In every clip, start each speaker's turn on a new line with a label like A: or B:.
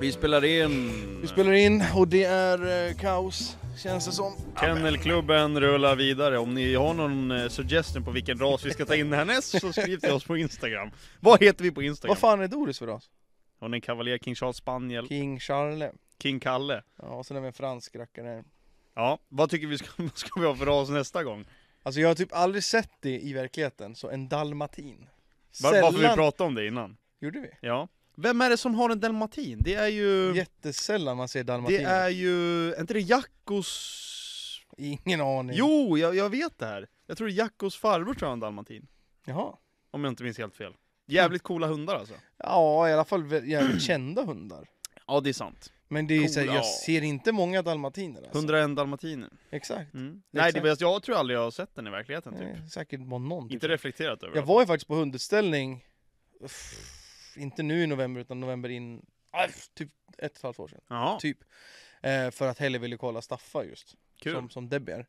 A: Vi spelar in.
B: Vi spelar in och det är eh, kaos, känns det som.
A: Kennelklubben rullar vidare. Om ni har någon eh, suggestion på vilken ras vi ska ta in härnäst så skriv till oss på Instagram. Vad heter vi på Instagram?
B: Vad fan är Doris för ras?
A: Hon är en kavaljer, King Charles Spaniel,
B: King Charlie.
A: King Kalle.
B: Ja, och sen är vi en fransk rackare.
A: Ja, vad tycker vi ska, vad ska vi ha för ras nästa gång?
B: Alltså jag har typ aldrig sett det i verkligheten, så en dalmatin.
A: Var, varför vi pratade om det innan.
B: Gjorde vi?
A: Ja. Vem är det som har en dalmatin? Det är ju...
B: Jättesällan man ser dalmatiner.
A: Mm. Det är ju... Är inte det Jackos...
B: Ingen aning.
A: Jo, jag, jag vet det här. Jag tror Jackos farbror tror jag har en dalmatin.
B: Jaha.
A: Om jag inte minns helt fel. Jävligt coola hundar alltså.
B: Ja, i alla fall vä- jävligt kända hundar.
A: Ja, det är sant.
B: Men det är ju så här,
A: Coola.
B: jag ser inte många dalmatiner alltså.
A: 101 dalmatiner. Mm.
B: Exakt. Det är
A: Nej, det,
B: exakt.
A: var- jag tror aldrig jag har sett den i verkligheten typ.
B: Nej, säkert bara någon.
A: Inte reflekterat över
B: Jag
A: det.
B: var ju faktiskt på hundutställning, uff, inte nu i november utan november in, uff, typ ett och ett halvt år sedan.
A: Jaha,
B: Typ. Eh, för att Helle ville kolla Staffa just,
A: kul.
B: som, som Debbie är.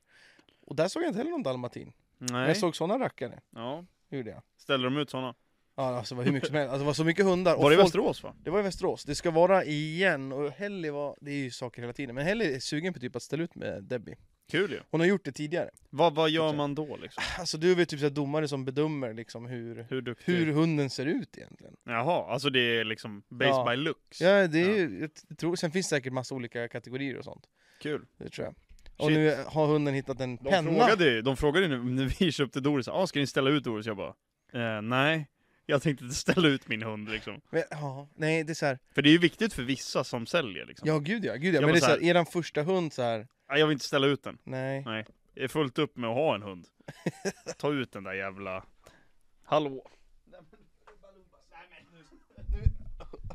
B: Och där såg jag inte heller någon dalmatin. Men
A: Nej.
B: jag såg sådana rackare,
A: Ja.
B: gjorde jag.
A: Ställer de ut såna?
B: Ja, alltså, det var hur mycket som helst. Alltså, det var så mycket hundar. Och
A: Var det i
B: folk-
A: Västerås va?
B: Det var i Västerås. Det ska vara igen. Och Helly var, det är ju saker hela tiden. Men Helly är sugen på typ att ställa ut med Debbie.
A: Kul ju.
B: Hon har gjort det tidigare.
A: Vad, vad gör
B: Exakt.
A: man då liksom?
B: Alltså du är väl typ så här domare som bedömer liksom hur,
A: Hur duktig?
B: hur hunden ser ut egentligen.
A: Jaha, alltså det är liksom based
B: Ja.
A: by looks?
B: Ja, det är ju, jag tror, sen finns det säkert massa olika kategorier och sånt.
A: Kul.
B: Det tror jag. Och
A: Shit.
B: nu har hunden hittat en
A: De
B: penna.
A: frågade ju, de frågade ju nu när vi köpte Doris, ah, ska ni ställa ut Doris? Jag bara, eh, nej. Jag tänkte inte ställa ut min hund liksom.
B: Men, ja, nej det är så här.
A: För det är ju viktigt för vissa som säljer liksom.
B: Ja gud ja, gud
A: Jag
B: ja. Men
A: var
B: det är så
A: så
B: här,
A: här-
B: eran första hund så här.
A: Nej, Jag vill inte ställa ut den.
B: Nej.
A: Nej. Det är fullt upp med att ha en hund. Ta ut den där jävla... Hallå.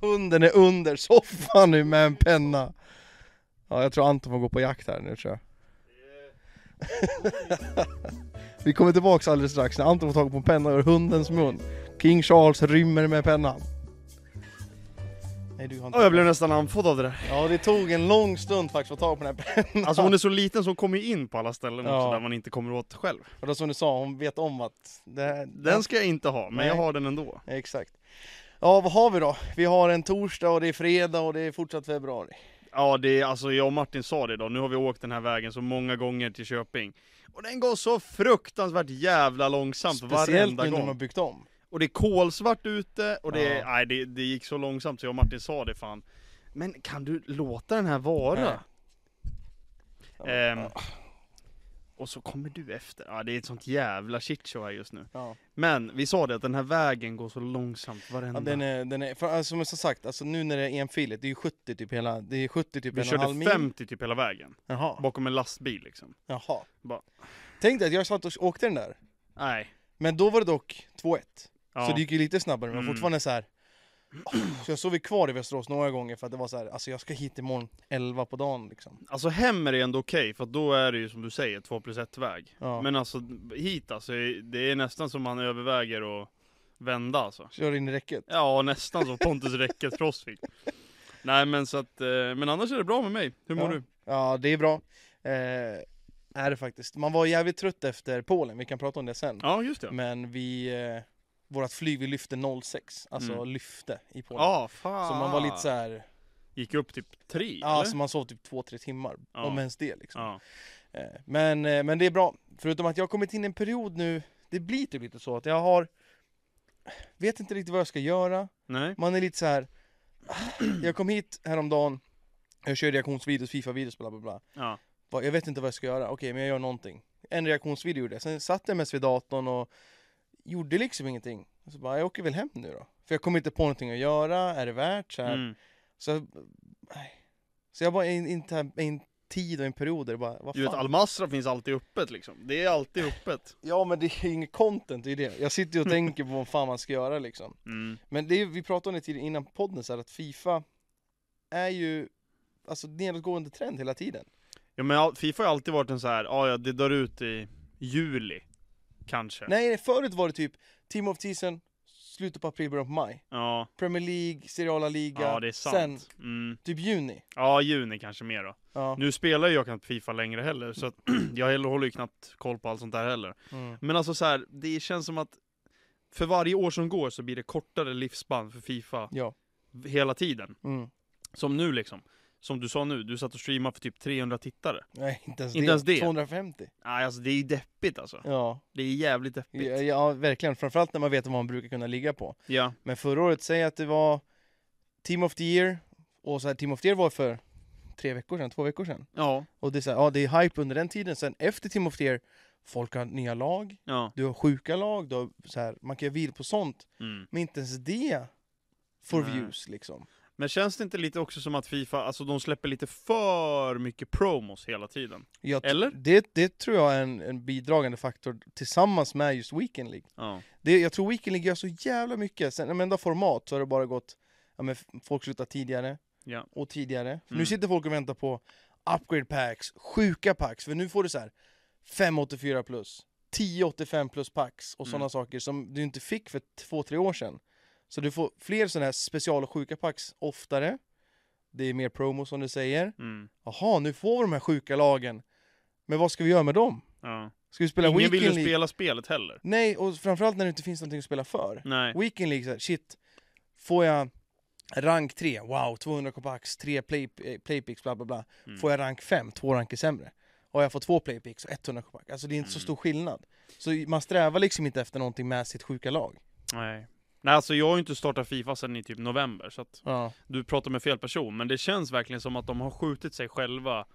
B: Hunden är under soffan nu med en penna. Ja, jag tror Anton får gå på jakt här nu tror jag. Vi kommer tillbaks alldeles strax när Anton får tag på en penna ur hundens mun. King Charles rymmer med pennan. Nej, du har inte...
A: Ja, jag blev nästan andfådd av det där.
B: Ja, det tog en lång stund faktiskt att få tag på den här pennan.
A: Alltså hon är så liten så hon kommer ju in på alla ställen
B: Ja.
A: också där man inte kommer åt själv.
B: Och då som du sa, hon vet om att det här...
A: Den ska jag inte ha, men
B: Nej.
A: jag har den ändå.
B: Exakt. Ja, vad har vi då? Vi har en torsdag och det är fredag och det är fortsatt februari.
A: Ja, det är, alltså jag och Martin sa det idag, nu har vi åkt den här vägen så många gånger till Köping. Och den går så fruktansvärt jävla långsamt
B: Speciellt
A: varenda
B: nu när de
A: gång.
B: har byggt om.
A: Och det är kolsvart ute och det,
B: Ja.
A: nej, det, det gick så långsamt så jag och Martin sa det fan. Men kan du låta den här vara? Ehm, och så kommer du efter. Ja, det är ett sånt jävla shitshow här just nu.
B: Ja.
A: Men vi sa det att den här vägen går så långsamt varenda.
B: Ja, den är, den är, för, alltså, som jag sa sagt, alltså, nu när det är enfiligt, det är ju 70 typ hela, det är 70 typ
A: vi
B: en och en halv
A: körde
B: mil.
A: 50 typ hela vägen.
B: Jaha.
A: Bakom en lastbil liksom.
B: Jaha.
A: Bara-
B: Tänk dig att jag satt och åkte den där,
A: Nej.
B: men då var det dock 2-1.
A: Ja.
B: Så det gick ju lite snabbare, men
A: Mm.
B: fortfarande så här. Så jag sov ju kvar i Västerås några gånger för att det var så här, alltså jag ska hit imorgon 11 på dagen liksom.
A: Alltså hem är det ändå okej, för att då är det ju som du säger, 2 plus 1 väg.
B: Ja.
A: Men alltså hit alltså, det är nästan som man överväger att vända alltså.
B: Kör in i räcket.
A: Ja, nästan som Pontus Räcket Frostfield. Nej men så att, eh, men annars är det bra med mig. Hur mår
B: Ja.
A: du?
B: Ja, det är bra. Eh, är det faktiskt. Man var jävligt trött efter Polen, vi kan prata om det sen.
A: Ja, just det.
B: Men vi, eh, vårat flyg vi lyfte 06, alltså
A: Mm.
B: lyfte i Polen.
A: Ja, fan.
B: Så man var lite så här,
A: Gick upp typ tre,
B: ja,
A: eller?
B: så man sov typ två, tre timmar.
A: Ja.
B: Om ens det liksom.
A: Ja.
B: Eh, Men, eh, men det är bra. Förutom att jag har kommit in i en period nu, det blir typ lite så att jag har, vet inte riktigt vad jag ska göra.
A: Nej.
B: Man är lite så här. jag kom hit häromdagen, jag kör reaktionsvideos, FIFA-videos, bla bla bla.
A: Ja.
B: Vad- Jag vet inte vad jag ska göra, okej men jag gör någonting. En reaktionsvideo gjorde jag, sen satt jag mest vid datorn och gjorde liksom ingenting. Och Så bara, jag åker väl hem nu då. För jag kommer inte på någonting att göra, är det värt så här?
A: Mm.
B: Så, jag- nej. så jag var i en, i en, i en tid och en period där det bara, vad
A: Du vet,
B: fan?
A: Almasra finns alltid öppet liksom. Det är alltid öppet.
B: Ja men det är ju inget content, det är ju det. Jag sitter ju och tänker på vad fan man ska göra liksom.
A: Mm.
B: Men det är, ju- vi pratade om det tidigare innan podden så här, att Fifa är ju alltså nedåtgående trend hela tiden.
A: Ja men all- Fifa har alltid varit en så här, ja ja, det dör ut i juli. Kanske.
B: Nej, nej, förut var det typ Team of Season, slutet på april, början på maj.
A: Ja.
B: Premier League, seriala liga,
A: Ja det är
B: sen
A: sant. Mm.
B: typ juni.
A: Ja juni kanske mer då.
B: Ja.
A: Nu spelar ju jag knappt Fifa längre heller så att jag heller- håller ju knappt koll på allt sånt där heller.
B: Mm.
A: Men alltså så här, det känns som att för varje år som går så blir det kortare livsspann för Fifa
B: Ja.
A: hela tiden.
B: Mm.
A: Som nu liksom. Som du sa nu, du satt och streamade för typ 300 tittare.
B: Nej, inte ens,
A: Inte
B: det.
A: ens det.
B: 250.
A: Nej alltså det är ju deppigt alltså.
B: Ja.
A: Det är jävligt deppigt.
B: Ja, ja, verkligen. Framförallt när man vet vad man brukar kunna ligga på.
A: Ja.
B: Men förra året, säg att det var Team of the Year, och så här, Team of the Year var för tre veckor sedan, två veckor sedan.
A: Ja.
B: Och det är så här, ja det är hype under den tiden, sen efter Team of the Year, folk har nya lag,
A: Ja.
B: du har sjuka lag, du har så här, man kan ju vila på sånt.
A: Mm.
B: Men inte ens det får
A: Nej.
B: views liksom.
A: Men känns det inte lite också som att Fifa, alltså de släpper lite för mycket promos hela tiden?
B: Jag tr-
A: Eller?
B: Det, det tror jag är en, en bidragande faktor tillsammans med just Weekend League.
A: Ja.
B: Det, jag tror Weekend League gör så jävla mycket. Sen om enda format så har det bara gått, ja men f- folk slutar tidigare
A: Ja.
B: och tidigare. För Nu
A: Mm.
B: sitter folk och väntar på upgrade packs, sjuka packs, för nu får du så här 584 plus, 1085 plus packs och sådana
A: Mm.
B: saker som du inte fick för två, tre år sedan. Så du får fler sådana här special och sjuka packs oftare. Det är mer promo som du säger.
A: Mm.
B: Jaha, nu får vi de här sjuka lagen. Men vad ska vi göra med dem?
A: ja.
B: Ska vi spela
A: Ingen
B: Weekend
A: vill
B: League?
A: ju spela spelet heller.
B: Nej, och framförallt när det inte finns någonting att spela för.
A: Nej.
B: Weekend League, så här, shit, får jag rank 3, wow, 200 kopacks, 3 play, eh, playpicks, bla bla bla.
A: Mm.
B: Får jag rank 5, två ranker sämre. Och jag får två playpicks och 100 kopacks. Alltså det är inte så
A: Mm.
B: stor skillnad. Så man strävar liksom inte efter någonting med sitt sjuka lag.
A: Nej. Nej, alltså jag har ju inte startat Fifa sedan i typ november, så att
B: Ja.
A: du pratar med fel person. Men det känns verkligen som att de har skjutit sig själva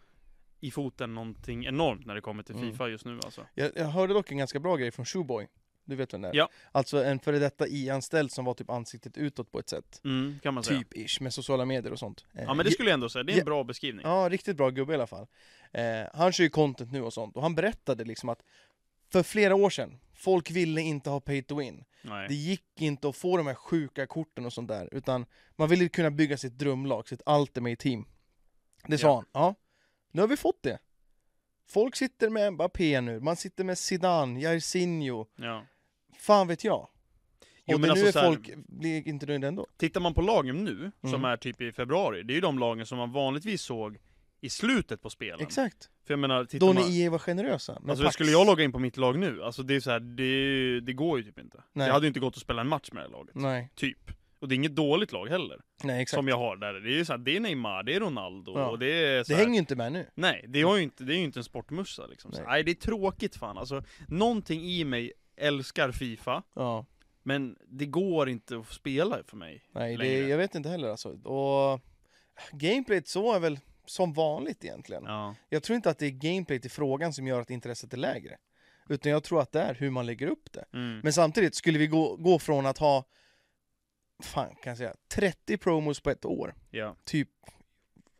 A: i foten någonting enormt när det kommer till
B: Mm.
A: Fifa just nu alltså.
B: Jag, jag hörde dock en ganska bra grej från Shoeboy. Du vet vem det är?
A: Ja.
B: Alltså en före detta I-anställd som var typ ansiktet utåt på ett sätt.
A: Mm, kan man säga.
B: Typ ish, med sociala medier och sånt.
A: Ja men det skulle jag ändå säga, det är en
B: Ja.
A: bra beskrivning.
B: Ja, riktigt bra gubbe i alla fall. Eh, han kör ju content nu och sånt och han berättade liksom att för flera år sedan, folk ville inte ha pay to win. Det
A: Nej.
B: gick inte att få de här sjuka korten och sånt där, utan man ville kunna bygga sitt drömlag, sitt ultimate team. Det sa
A: Ja.
B: han. Ja, nu har vi fått det. Folk sitter med Mbappé nu, man sitter med Zidane, Jairzinho,
A: Ja.
B: fan vet jag. Och
A: Jo, men
B: det, nu
A: alltså
B: är
A: så här-
B: folk, blir inte nöjda ändå.
A: Tittar man på lagen nu, som
B: Mm.
A: är typ i februari, det är ju de lagen som man vanligtvis såg i slutet på spelen.
B: Exakt.
A: För jag menar, tittar
B: Då
A: man...
B: när EA var generösa. med
A: Alltså
B: packs.
A: skulle jag logga in på mitt lag nu, alltså det är så här, det, det går ju typ inte.
B: Nej.
A: Det hade ju inte gått att spela en match med det här laget.
B: Nej,
A: Typ. Och det är inget dåligt lag heller,
B: nej exakt.
A: som jag har där. Det är ju så här, det är Neymar, det är Ronaldo
B: Ja.
A: och det är så
B: Det
A: här,
B: hänger ju inte med nu.
A: Nej, det, har ju inte, det är ju inte en sportmussa liksom. Nej.
B: Nej.
A: Så, nej, det är tråkigt fan. Alltså, någonting i mig älskar Fifa,
B: Ja,
A: men det går inte att spela för mig.
B: nej, det,
A: längre.
B: jag vet inte heller alltså. Och gameplayet så är väl som vanligt egentligen.
A: Ja.
B: Jag tror inte att det är gameplayet i frågan som gör att intresset är lägre. Utan jag tror att det är hur man lägger upp det.
A: Mm.
B: Men samtidigt, skulle vi gå, gå från att ha fan kan jag säga, 30 promos på ett år,
A: ja.
B: typ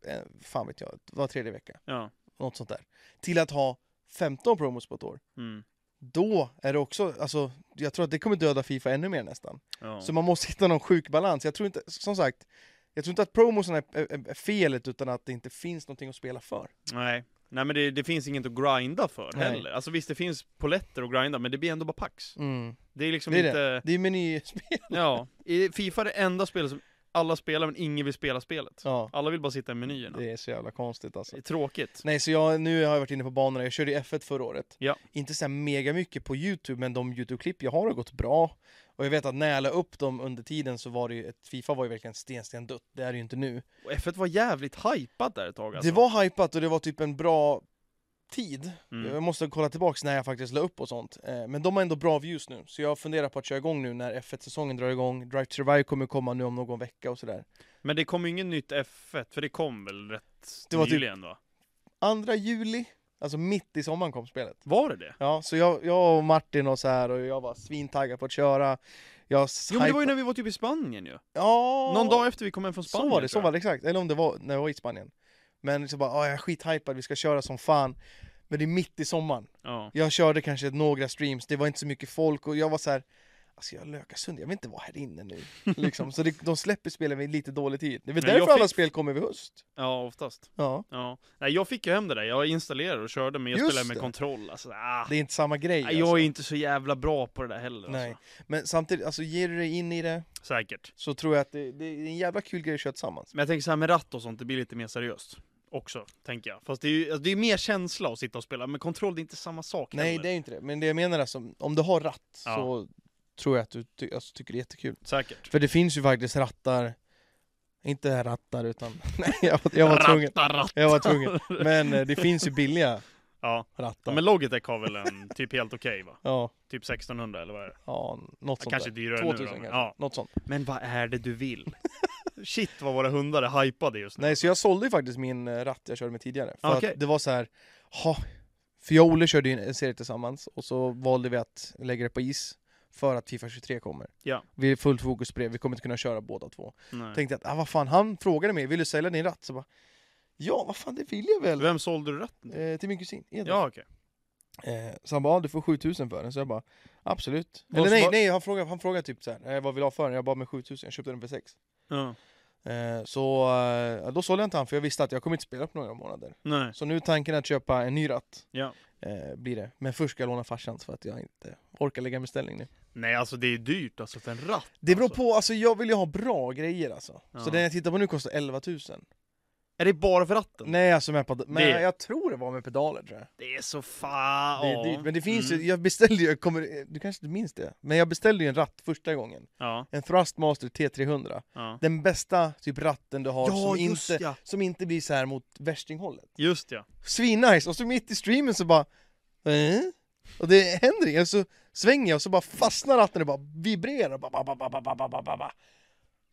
B: eh, fan vet jag, var tredje vecka,
A: Ja.
B: något sånt där, till att ha 15 promos på ett år.
A: Mm.
B: Då är det också, alltså jag tror att det kommer döda Fifa ännu mer nästan.
A: ja.
B: Så man måste hitta någon sjuk balans. Jag tror inte, som sagt, jag tror inte att promosen är, är, är felet utan att det inte finns någonting att spela för.
A: Nej. Nej men det, det finns inget att grinda för
B: Nej.
A: heller. Alltså visst det finns poletter att grinda men det blir ändå bara pax. Det är liksom
B: Det är
A: inte...
B: Det är menyspel.
A: Ja. I Fifa är det enda spelet som alla spelar men ingen vill spela spelet.
B: Ja,
A: Alla vill bara sitta i menyerna. Det
B: det är så jävla konstigt alltså.
A: är tråkigt.
B: Nej, så jag, nu har jag varit inne på banorna. Jag körde ju F1 förra året.
A: Ja.
B: Inte så här mega mycket på YouTube, men de YouTube-klipp jag har har gått bra. Och jag vet att när jag la upp dem under tiden så var det ju, ett, Fifa var ju verkligen sten, sten dött. Det är det ju inte nu.
A: Och F1 var jävligt hypat där ett tag alltså.
B: Det var hypat och det var typ en bra tid.
A: Mm.
B: Jag måste kolla tillbaks när jag faktiskt la upp och sånt. Eh, Men de har ändå bra views nu, så jag funderar på att köra igång nu när F1-säsongen drar igång. Drive to Survive kommer komma nu om någon vecka och sådär.
A: Men det kom ju ingen nytt F1, för det kom väl rätt
B: Det var typ-
A: nyligen va?
B: 2 juli, alltså mitt i sommaren kom spelet.
A: Var det det?
B: Ja, så jag, jag och Martin och så här och jag var svintaggad på att köra. Jag
A: Jo men det var ju
B: hypa-
A: när vi var typ i Spanien ju.
B: ja,
A: Någon dag efter vi kom hem från Spanien
B: Så var det, så
A: tror
B: var
A: jag.
B: det exakt. Eller om det var när jag var i Spanien. Men så bara, "Ah, jag är skithypad, vi ska köra som fan. Men det är mitt i sommaren.
A: Ja.
B: Jag körde kanske några streams, det var inte så mycket folk och jag var så här. Alltså jag lökar sönder, jag vill inte vara här inne nu. Liksom. Så det, de släpper spelen vid lite dålig tid. Det är väl
A: Men jag
B: därför alla
A: fick-
B: spel kommer vid höst.
A: ja, oftast.
B: Ja.
A: Ja. Nej jag fick ju hem det där, jag installerade och körde men jag
B: Just
A: spelade med
B: det.
A: kontroll alltså. Ah.
B: Det är inte samma grej.
A: Nej, Jag är
B: alltså.
A: inte så jävla bra på det där heller
B: Nej.
A: Alltså.
B: Men samtidigt, alltså ger du dig in i det
A: Säkert.
B: så tror jag att det, det är en jävla kul grej att köra tillsammans.
A: Men jag tänker så här med ratt och sånt, det blir lite mer seriöst. Också, tänker jag. Fast det är ju alltså, det är mer känsla att sitta och spela, men kontroll det är inte samma sak
B: Nej,
A: heller.
B: det är ju inte det. Men det jag menar är alltså, om du har ratt
A: Ja.
B: så tror jag att du ty- alltså, tycker det är jättekul.
A: Säkert.
B: För det finns ju faktiskt rattar Inte rattar utan, nej jag, var- jag var tvungen.
A: Ratta, ratta.
B: Jag var tvungen. Men eh, det finns ju billiga
A: Ja. ja,
B: rattar.
A: men Logitech har väl en typ helt okej va?
B: Ja,
A: Typ 1600 eller vad är det?
B: ja något sånt
A: kanske
B: där.
A: dyrare
B: 2000
A: nu då.
B: kanske.
A: men- Ja.
B: Något sånt.
A: Men vad är det du vill? Shit vad våra hundar är hypade just nu.
B: Nej, så jag sålde ju faktiskt min eh, ratt jag körde med tidigare. För
A: Ah, Okej.
B: att det var så här, ha, för jag och Olle körde ju en serie tillsammans och så valde vi att lägga det på is för att Fifa 23 kommer.
A: Ja.
B: Vi är fullt fokus på det, vi kommer inte kunna köra båda två.
A: Nej.
B: Tänkte att, ah, vad fan, han frågade mig, vill du sälja din ratt? Så bara, ja vad fan det vill jag väl.
A: Vem sålde du ratten?
B: Eh, till min kusin, Edvin.
A: Ja okej.
B: Eh, så han bara, ah, du får 7000 för den. Så jag bara, absolut.
A: Vad-
B: Eller nej,
A: vad-
B: nej han frågade, han frågade typ så här, eh, vad vill du ha för den? Jag bara, med 7000, jag köpte den för 6.
A: Ja.
B: Eh, så eh, då sålde jag inte han för jag visste att jag kommer inte spela på några månader.
A: Nej.
B: Så nu är tanken att köpa en ny ratt.
A: Ja.
B: Eh, blir det. Men först ska jag låna farsans för att jag inte orkar lägga en beställning nu.
A: Nej alltså det är dyrt alltså för en ratt.
B: Det beror
A: alltså.
B: på, alltså jag vill ju ha bra grejer alltså.
A: Ja.
B: Så den jag tittar på nu kostar 11 000.
A: Är det bara för ratten?
B: Nej alltså med pedal- men
A: Det-
B: jag tror det var med pedaler tror jag.
A: Det är så fan.
B: Det är
A: ja.
B: dyrt. Men det finns
A: Mm.
B: ju, jag beställde ju, jag kommer, du kanske inte minns det? Men jag beställde ju en ratt första gången.
A: Ja.
B: En Thrustmaster T300.
A: ja.
B: Den bästa typ ratten du har som, inte,
A: ja.
B: som inte blir så här mot värstinghållet.
A: Just ja.
B: svinnice och så mitt i streamen så bara eh? Och det händer inget, Och så svänger jag och så bara fastnar ratten och bara vibrerar bara, bara, bara, bara, bara, bara, bara, bara.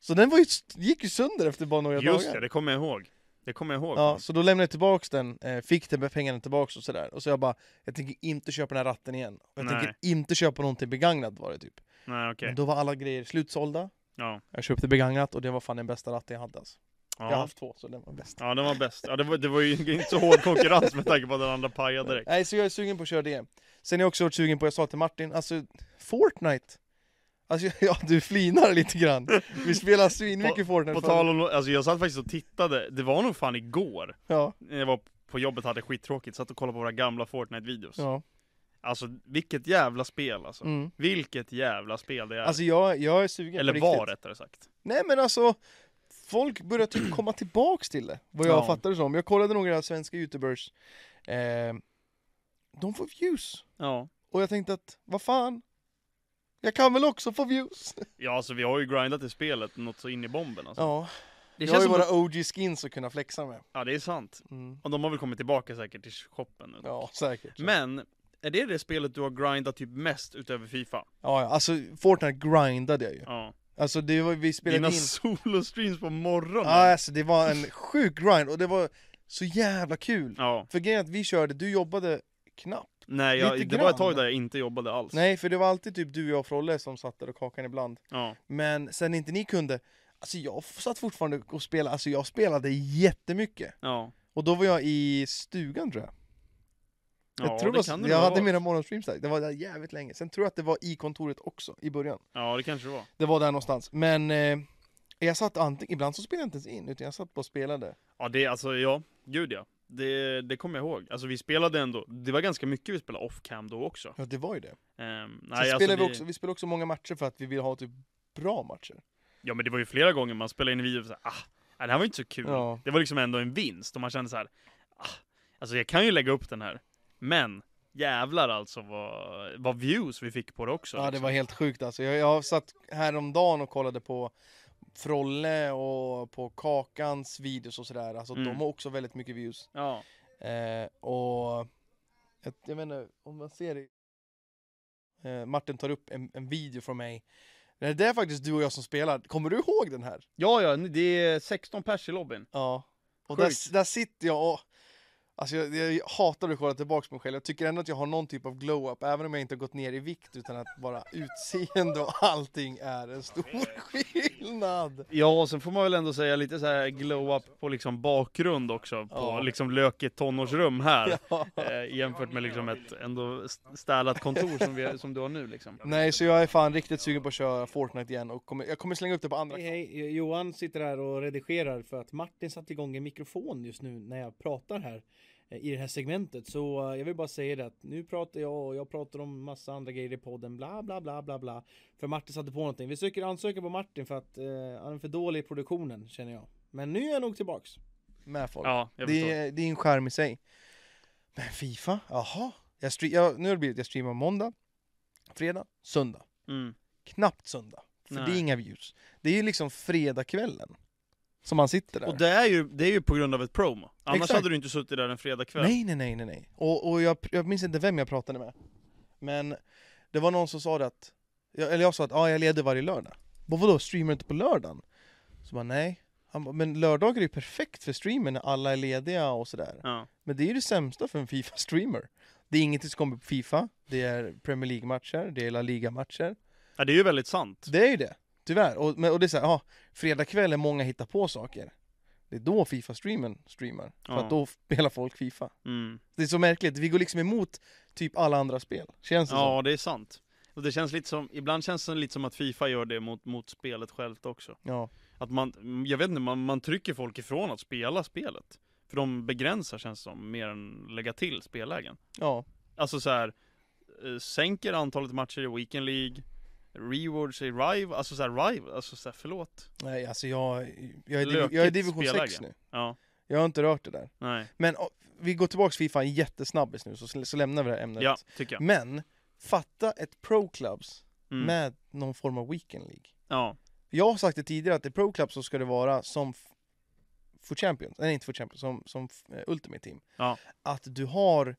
B: Så den var ju, gick ju sönder efter bara några
A: Just ja,
B: dagar
A: det kommer jag ihåg. Det kommer jag ihåg.
B: Ja, så då lämnade jag tillbaks den, eh, fick den med pengarna tillbaks och sådär Och så jag bara, jag tänker inte köpa den här ratten igen och Jag
A: Nej.
B: tänker inte köpa någonting begagnat var det typ
A: Nej okej.
B: Men då var alla grejer slutsålda
A: Ja.
B: Jag köpte begagnat och det var fan den bästa ratten jag hade alltså. Jag har
A: Ja.
B: haft två så den var bäst
A: ja, den var bäst. Ja, det, var, det var ju inte så hård konkurrens med tanke på att den andra pajade direkt.
B: Nej, så jag är sugen på att köra det. Sen har jag också varit sugen på, jag sa till Martin, alltså Fortnite. Alltså ja, du flinar lite grann. Vi spelar svinmycket Fortnite.
A: På tal om, alltså jag satt faktiskt och tittade, det var nog fan igår
B: Ja,
A: när jag var på jobbet hade skittråkigt, satt och kollade på våra gamla Fortnite-videos.
B: ja.
A: Alltså vilket jävla spel alltså.
B: Mm.
A: Vilket jävla spel det är.
B: Alltså jag, jag är sugen
A: Eller
B: på
A: var
B: riktigt.
A: rättare sagt.
B: Nej men alltså, folk börjar typ komma tillbaks till det. Vad jag
A: Ja.
B: fattar det som. Jag kollade några svenska youtubers. Eh, de får views.
A: Ja.
B: Och jag tänkte att, vad fan. Jag kan väl också få views?
A: Ja alltså vi har ju grindat i spelet något så in i bomben alltså.
B: Ja,
A: Det
B: jag har ju
A: som
B: våra
A: att-
B: OG-skins att kunna flexa med.
A: Ja det är sant.
B: Mm.
A: Och de har väl kommit tillbaka säkert till shoppen nu.
B: Ja, säkert.
A: Men, är det det spelet du har grindat typ mest utöver Fifa?
B: Ja, ja, alltså Fortnite grindade jag ju.
A: Ja.
B: Alltså det var, vi spelade
A: Dina
B: in...
A: solostreams på morgonen?
B: Ja, alltså det var en sjuk grind och det var så jävla kul.
A: Ja.
B: För grejen är att vi körde, du jobbade knappt.
A: Nej,
B: Lite
A: jag, det var ett
B: grann.
A: tag där jag inte jobbade alls.
B: Nej, för det var alltid typ du, jag och Frolle som satt där och kakade ibland.
A: Ja.
B: Men sen inte ni kunde, alltså jag f- satt fortfarande och spelade, alltså jag spelade jättemycket.
A: Ja.
B: Och då var jag i stugan tror jag.
A: Ja,
B: jag tror
A: det
B: var,
A: kan det
B: jag
A: nog ha
B: hade
A: varit.
B: mina morgonstreams där, det var där jävligt länge. Sen tror jag att det var i kontoret också, i början.
A: Ja, det kanske det var.
B: Det var där någonstans. Men eh, jag satt antingen, ibland så spelade jag inte ens in, utan jag satt bara och spelade.
A: Ja, det, alltså ja, gud ja. Det, det kommer jag ihåg. Alltså vi spelade ändå, det var ganska mycket vi spelade off-cam då också.
B: Ja, det var ju det.
A: Ehm, nej,
B: Sen
A: alltså,
B: spelade
A: det-
B: vi, också, vi spelade också många matcher för att vi vill ha typ bra matcher.
A: Ja men det var ju flera gånger man spelade in en video och så här, ah, nej, det här var inte så kul.
B: Ja.
A: Det var liksom ändå en vinst och man kände så här, ah, alltså jag kan ju lägga upp den här. Men jävlar alltså vad, vad views vi fick på det också.
B: Ja, det
A: liksom.
B: var helt sjukt alltså. Jag, jag satt häromdagen och kollade på Frolle och på Kakans videos och sådär. Alltså de
A: Mm.
B: har också väldigt mycket views.
A: Ja,
B: Eh, och jag, jag menar, om man ser det. Eh, Martin tar upp en, en video från mig. Det är där faktiskt du och jag som spelar. Kommer du ihåg den här?
A: ja, ja det är 16 pers i lobbyn.
B: Ja. Och
A: Sjukt.
B: där, där sitter jag och... Alltså jag, jag hatar att kolla tillbaka på mig själv. Jag tycker ändå att jag har någon typ av glow-up, även om jag inte har gått ner i vikt, utan att bara utseende och allting är en stor skillnad.
A: Ja, och sen får man väl ändå säga lite så här glow-up på liksom bakgrund också, på
B: Ja.
A: liksom lökigt tonårsrum här.
B: Ja.
A: Eh, jämfört med liksom ett ändå st- städat kontor som, vi, som du har nu liksom.
B: Nej, så jag är fan riktigt sugen på att köra Fortnite igen och kommer, jag kommer slänga upp det på andra.
C: Hej, hej. Eh, Johan sitter här och redigerar för att Martin satte igång en mikrofon just nu när jag pratar här eh, i det här segmentet. Så eh, jag vill bara säga det att nu pratar jag och jag pratar om massa andra grejer i podden bla bla bla bla bla. För Martin satte på någonting. Vi söker ansökan på Martin för att eh, han är för dålig i produktionen känner jag. Men nu är jag nog tillbaks.
B: Med folk.
A: Ja, jag
B: det,
A: förstår.
B: är, det är en skärm i sig. Men Fifa, jaha. Jag stre- jag, nu har det blivit, jag streamar måndag, fredag, söndag.
A: Mm.
B: knappt söndag. För
A: Nej.
B: det är inga views. Det är ju liksom fredagskvällen. som han sitter där.
A: Och det är, ju, det är ju på grund av ett promo. Annars
B: Exakt.
A: hade du inte suttit där en fredagkväll.
B: Nej, nej, nej, nej, nej. Och, och jag, jag minns inte vem jag pratade med. Men det var någon som sa det att, jag, eller jag sa att ja, jag leder varje lördag. Bara, vadå, streamar du inte på lördagen? Så bara nej. Han bara, men lördagar är ju perfekt för streamen när alla är lediga och sådär.
A: Ja.
B: Men det är ju det sämsta för en Fifa-streamer. Det är ingenting som kommer på Fifa, det är Premier League-matcher, det är La Liga-matcher.
A: ja, det är ju väldigt sant.
B: Det är ju det, tyvärr. Och, men, och det är såhär, ja, fredagkvällen många hittar på saker. Det är då Fifa-streamen streamar. För
A: Ja.
B: att då spelar folk Fifa.
A: Mm.
B: Det är så märkligt, vi går liksom emot typ alla andra spel, känns det som.
A: Ja, det är sant. Och det känns lite som, ibland känns det lite som att Fifa gör det mot, mot spelet självt också.
B: Ja.
A: Att man, jag vet inte, man, man trycker folk ifrån att spela spelet. För de begränsar känns det som, mer än lägga till spellägen.
B: ja.
A: Alltså så här, eh, sänker antalet matcher i Weekend League, rewards i Rive, alltså så här, Rive, alltså så här, förlåt.
B: Nej, alltså jag, jag, är, div-
A: Lökigt
B: jag är division 6
A: spelläge.
B: nu.
A: Ja,
B: Jag har inte rört det där.
A: nej.
B: Men å, vi går tillbaka till Fifa jättesnabbis nu, så, så lämnar vi det här ämnet.
A: Ja, tycker jag.
B: Men, fatta ett Pro Clubs
A: Mm.
B: med någon form av Weekend League.
A: Ja,
B: Jag har sagt det tidigare att i Pro Club så ska det vara som f- för Champions, nej inte för Champions, som, som eh, Ultimate Team.
A: Ja.
B: Att du har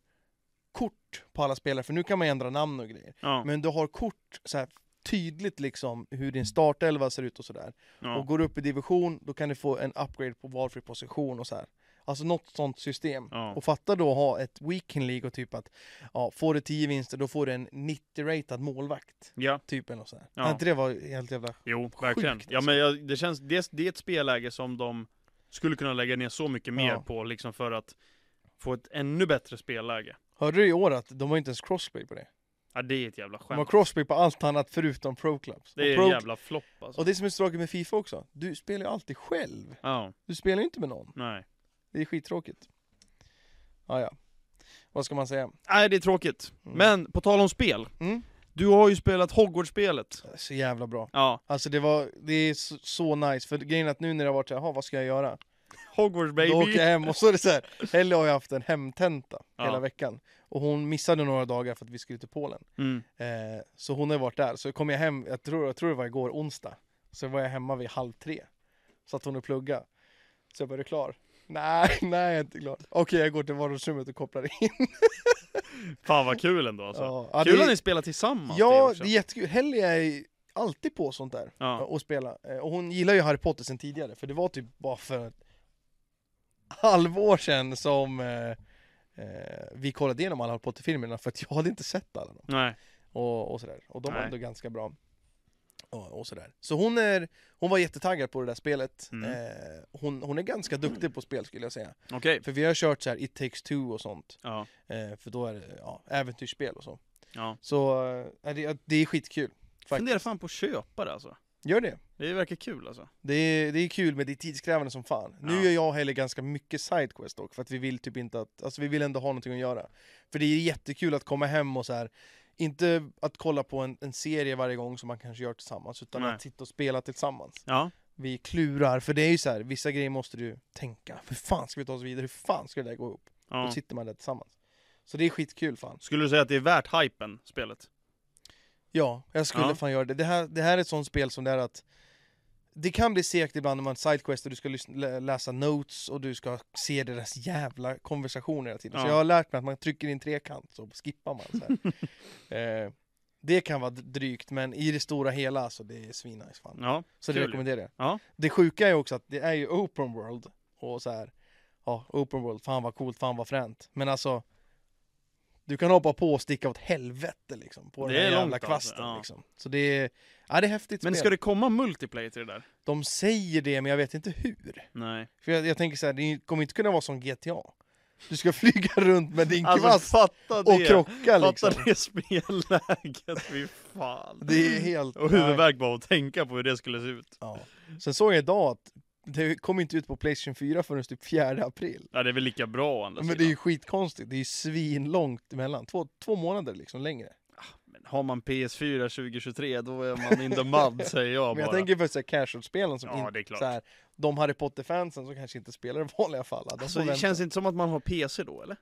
B: kort på alla spelare, för nu kan man ändra namn och grejer.
A: ja,
B: Men du har kort så här tydligt liksom hur din startelva ser ut och sådär.
A: ja.
B: Och går du upp i division, då kan du få en upgrade på valfri position och så här. Alltså något sånt system.
A: Ja.
B: Och fatta då att ha ett weekend League och typ att ja, får du 10 vinster då får du en 90-ratad målvakt.
A: ja.
B: Typ eller något sånt.
A: Ja.
B: Ja. Inte det var helt jävla...
A: Jo, verkligen.
B: Sjukt,
A: Ja, men jag, det känns, det, det är ett spelläge som de skulle kunna lägga ner så mycket mer
B: Ja.
A: på liksom för att få ett ännu bättre spelläge.
B: Hörde du i år att de har inte ens crossplay på det?
A: Ja, det är ett jävla
B: De har
A: skämt.
B: crossplay på allt annat förutom Pro Clubs.
A: Det är
B: och, pro...
A: en jävla flopp alltså.
B: och det som är så tråkigt med Fifa också, du spelar ju alltid själv.
A: Ja,
B: Du spelar ju inte med någon.
A: nej.
B: Det är skittråkigt. Ah, Ja, ja. Vad ska man säga?
A: Nej, det är tråkigt.
B: Mm.
A: Men på tal om spel.
B: Mm.
A: Du har ju spelat Hogwarts-spelet.
B: Så jävla bra.
A: Ja,
B: Alltså det var, det är så, så nice, för grejen är att nu när det har varit såhär, "Jaha, vad ska jag göra?
A: Hogwarts
B: Då åker jag
A: baby.
B: hem och så är det såhär, Helle har ju haft en hemtenta
A: Ja.
B: hela veckan. Och hon missade några dagar för att vi skulle till Polen.
A: Mm.
B: Eh, så hon har ju varit där. Så kom jag hem, jag tror, jag tror det var igår onsdag. Så var jag hemma vid halv tre. Satt hon och plugga. Så jag bara, är du klar? Nej, nej jag är inte klar. Okej, jag går till vardagsrummet och kopplar in.
A: Fan vad kul ändå alltså.
B: Ja, ja,
A: Kul
B: det-
A: att ni spelar tillsammans.
B: Ja,
A: också.
B: det är jättekul. Helly är ju alltid på sånt där
A: Ja.
B: och spela. Eh, Och hon gillar ju Harry Potter sen tidigare, för det var typ bara för ett halvår sedan som eh, eh, vi kollade igenom alla Harry Potter-filmerna för att jag hade inte sett alla dem.
A: Nej.
B: Och, och sådär. Och de var
A: Nej.
B: ändå ganska bra. Och, och sådär. Så hon, är, hon var jättetaggad på det där spelet.
A: Mm.
B: Eh, hon, hon är ganska duktig på spel skulle jag säga.
A: Okej.
B: För vi har kört så här It takes two och sånt.
A: Ja.
B: Eh, för då är det ja, äventyrsspel och så.
A: ja.
B: Så eh, det, det är skitkul. Faktiskt.
A: Funderar fan på att köpa det alltså.
B: Gör det.
A: Det verkar kul alltså.
B: Det är, det är kul men det är tidskrävande som fan.
A: Ja.
B: Nu gör jag och Helle ganska mycket sidequest dock för att vi vill typ inte att, alltså vi vill ändå ha någonting att göra. För det är jättekul att komma hem och så här. inte att kolla på en, en serie varje gång som man kanske gör tillsammans utan
A: Nej.
B: att sitta och spela tillsammans.
A: Ja.
B: Vi klurar, för det är ju så här, vissa grejer måste du tänka. Hur fan ska vi ta oss vidare? Hur fan ska det där gå ihop? Då
A: ja.
B: sitter man där tillsammans. Så det är skitkul fan.
A: Skulle du säga att det är värt hypen, spelet?
B: Ja, jag skulle
A: Ja.
B: fan göra det. Det här, det här är ett sånt spel som det är att det kan bli segt ibland när man sidequest och du ska lyssna, lä- läsa notes och du ska se deras jävla konversationer hela tiden.
A: Ja.
B: Så jag har lärt mig att man trycker in trekant så skippar man så här. eh, det kan vara d- drygt men i det stora hela så det är svinnice fan.
A: Ja.
B: Så det
A: kul.
B: rekommenderar jag.
A: Ja.
B: Det sjuka är också att det är ju open world och så här. Ja, open world, fan vad coolt, fan vad fränt. Men alltså du kan hoppa på och sticka åt helvete liksom på
A: Det
B: den här
A: är
B: jävla
A: långt alltså,
B: kvasten
A: ja.
B: liksom. Så det är, ja det är häftigt
A: Men
B: spel.
A: ska det komma multiplayer till det där?
B: De säger det men jag vet inte hur.
A: Nej.
B: För jag, jag tänker så här, det kommer inte kunna vara som GTA. Du ska flyga runt med din
A: Alltså,
B: kvast
A: fatta
B: Alltså, och krocka
A: Fatta
B: liksom.
A: det spelläget, fy fan.
B: Det är helt...
A: Och huvudvärk bara att tänka på hur det skulle se ut.
B: Ja. Sen såg jag idag att det kom inte ut på Playstation 4 förrän typ 4 april.
A: Ja, det är väl lika bra å andra
B: Men det är
A: sidan.
B: ju skitkonstigt, det är ju svinlångt emellan. Två, två månader liksom längre.
A: Men har man PS4 2023 då är man in the mud säger jag
B: Men
A: bara.
B: jag tänker för så här casual-spelen som
A: Ja,
B: in-
A: det är klart.
B: så här, de Harry Potter-fansen som kanske inte spelar i vanliga fall. De
A: Alltså
B: får
A: det
B: vänta.
A: känns inte som att man har PC då eller?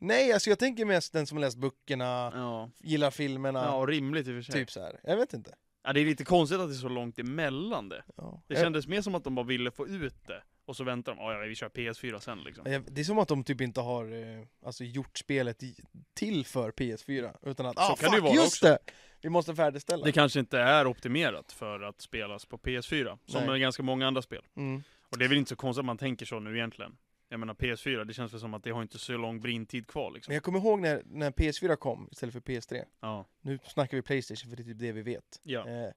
B: Nej, alltså jag tänker mest den som har läst böckerna,
A: Ja.
B: gillar filmerna,
A: Ja, rimligt i och för sig.
B: typ så här. Jag vet inte.
A: Ja, det är lite konstigt att det är så långt emellan det.
B: Ja.
A: Det kändes mer som att de bara ville få ut det. Och så väntar de, "Ah, ja vi kör PS4 sen liksom.
B: Jag, jag, det är som att de typ inte har eh, alltså, gjort spelet i, till för PS4. Utan att, ah
A: kan det ju
B: fuck,
A: vara
B: just
A: också.
B: det! Vi måste färdigställa.
A: Det kanske inte är optimerat för att spelas på PS4, som
B: Nej.
A: med ganska många andra spel.
B: Mm.
A: Och det är väl inte så konstigt att man tänker så nu egentligen. Jag menar PS4, det känns väl som att det har inte så lång brintid kvar liksom.
B: Men jag kommer ihåg när, när PS4 kom istället för PS3.
A: Ja.
B: Nu snackar vi Playstation för det är typ det vi vet.
A: Ja.
B: Eh,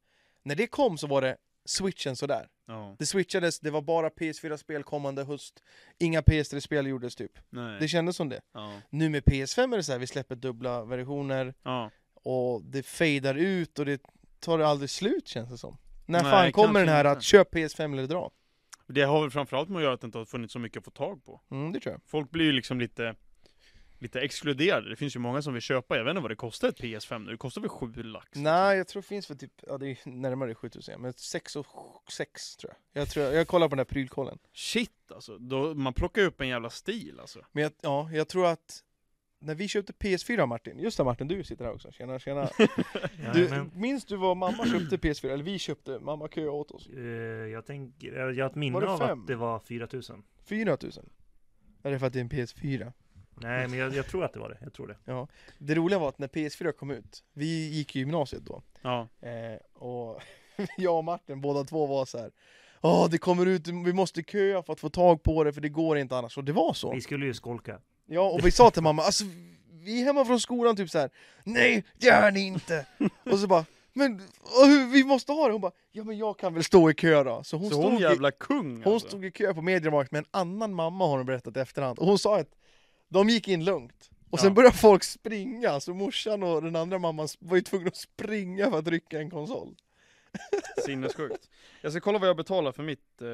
B: när det kom så var det switchen sådär.
A: ja.
B: Det switchades, det var bara PS4-spel kommande höst. Inga PS3-spel gjordes typ. Det
A: Nej.
B: kändes som det.
A: Ja.
B: Nu med PS5 är det så här, vi släpper dubbla versioner
A: Ja.
B: och det fejdar ut och det tar aldrig slut känns det som. När
A: Nej,
B: fan kommer
A: kanske
B: den här
A: inte.
B: att köp PS5 eller dra?
A: Det har väl framförallt med att göra att det inte har funnits så mycket att få tag på.
B: Mm, det tror jag.
A: Folk blir ju liksom lite, lite exkluderade. Det finns ju många som vill köpa, jag vet inte vad det kostar ett PS5 nu. Det kostar väl 7 lax? liksom.
B: Nej, jag tror det finns för typ, ja det är närmare 7000 men 6 och 6 tror jag. Jag, tror, jag kollar på den här prylkollen.
A: Shit alltså, då, man plockar ju upp en jävla stil alltså.
B: Men jag, ja, jag tror att när vi köpte PS4 Martin, just det Martin, du sitter här också, tjena tjena. Du,
D: Jajamän.
B: minns du vad mamma köpte PS4? Eller vi köpte, mamma köade åt oss.
D: Eh, jag, tänker, eh, jag har ett
B: Var
D: minne
B: det
D: av
B: fem?
D: att det var 4000.
B: 4000. Är det för att det är en PS4?
D: Nej, men jag, jag tror att det var det. Jag tror det.
B: Det roliga var att när PS4 kom ut, vi gick ju gymnasiet då.
A: Ja.
B: Eh, och jag och Martin båda två var så här. Ja, det kommer ut, vi måste köa för att få tag på det för det går inte annars. Och det var så.
D: Vi skulle ju skolka.
B: Ja, och vi sa till mamma, alltså vi är hemma från skolan typ så här. Nej, det är ni inte! Och så bara, men och hur- vi måste ha det! Hon bara, ja men jag kan väl stå i kö då. Så hon,
A: så
B: stod,
A: hon
B: i,
A: jävla kung
B: hon
A: alltså.
B: stod i kö på Mediamarkt med en annan mamma har hon berättat i efterhand. Och hon sa att de gick in lugnt. Och sen
A: Ja.
B: började folk springa, så morsan och den andra mamman var ju tvungna att springa för att rycka en konsol.
A: Sinnessjukt. Jag ska kolla vad jag betalar för mitt eh,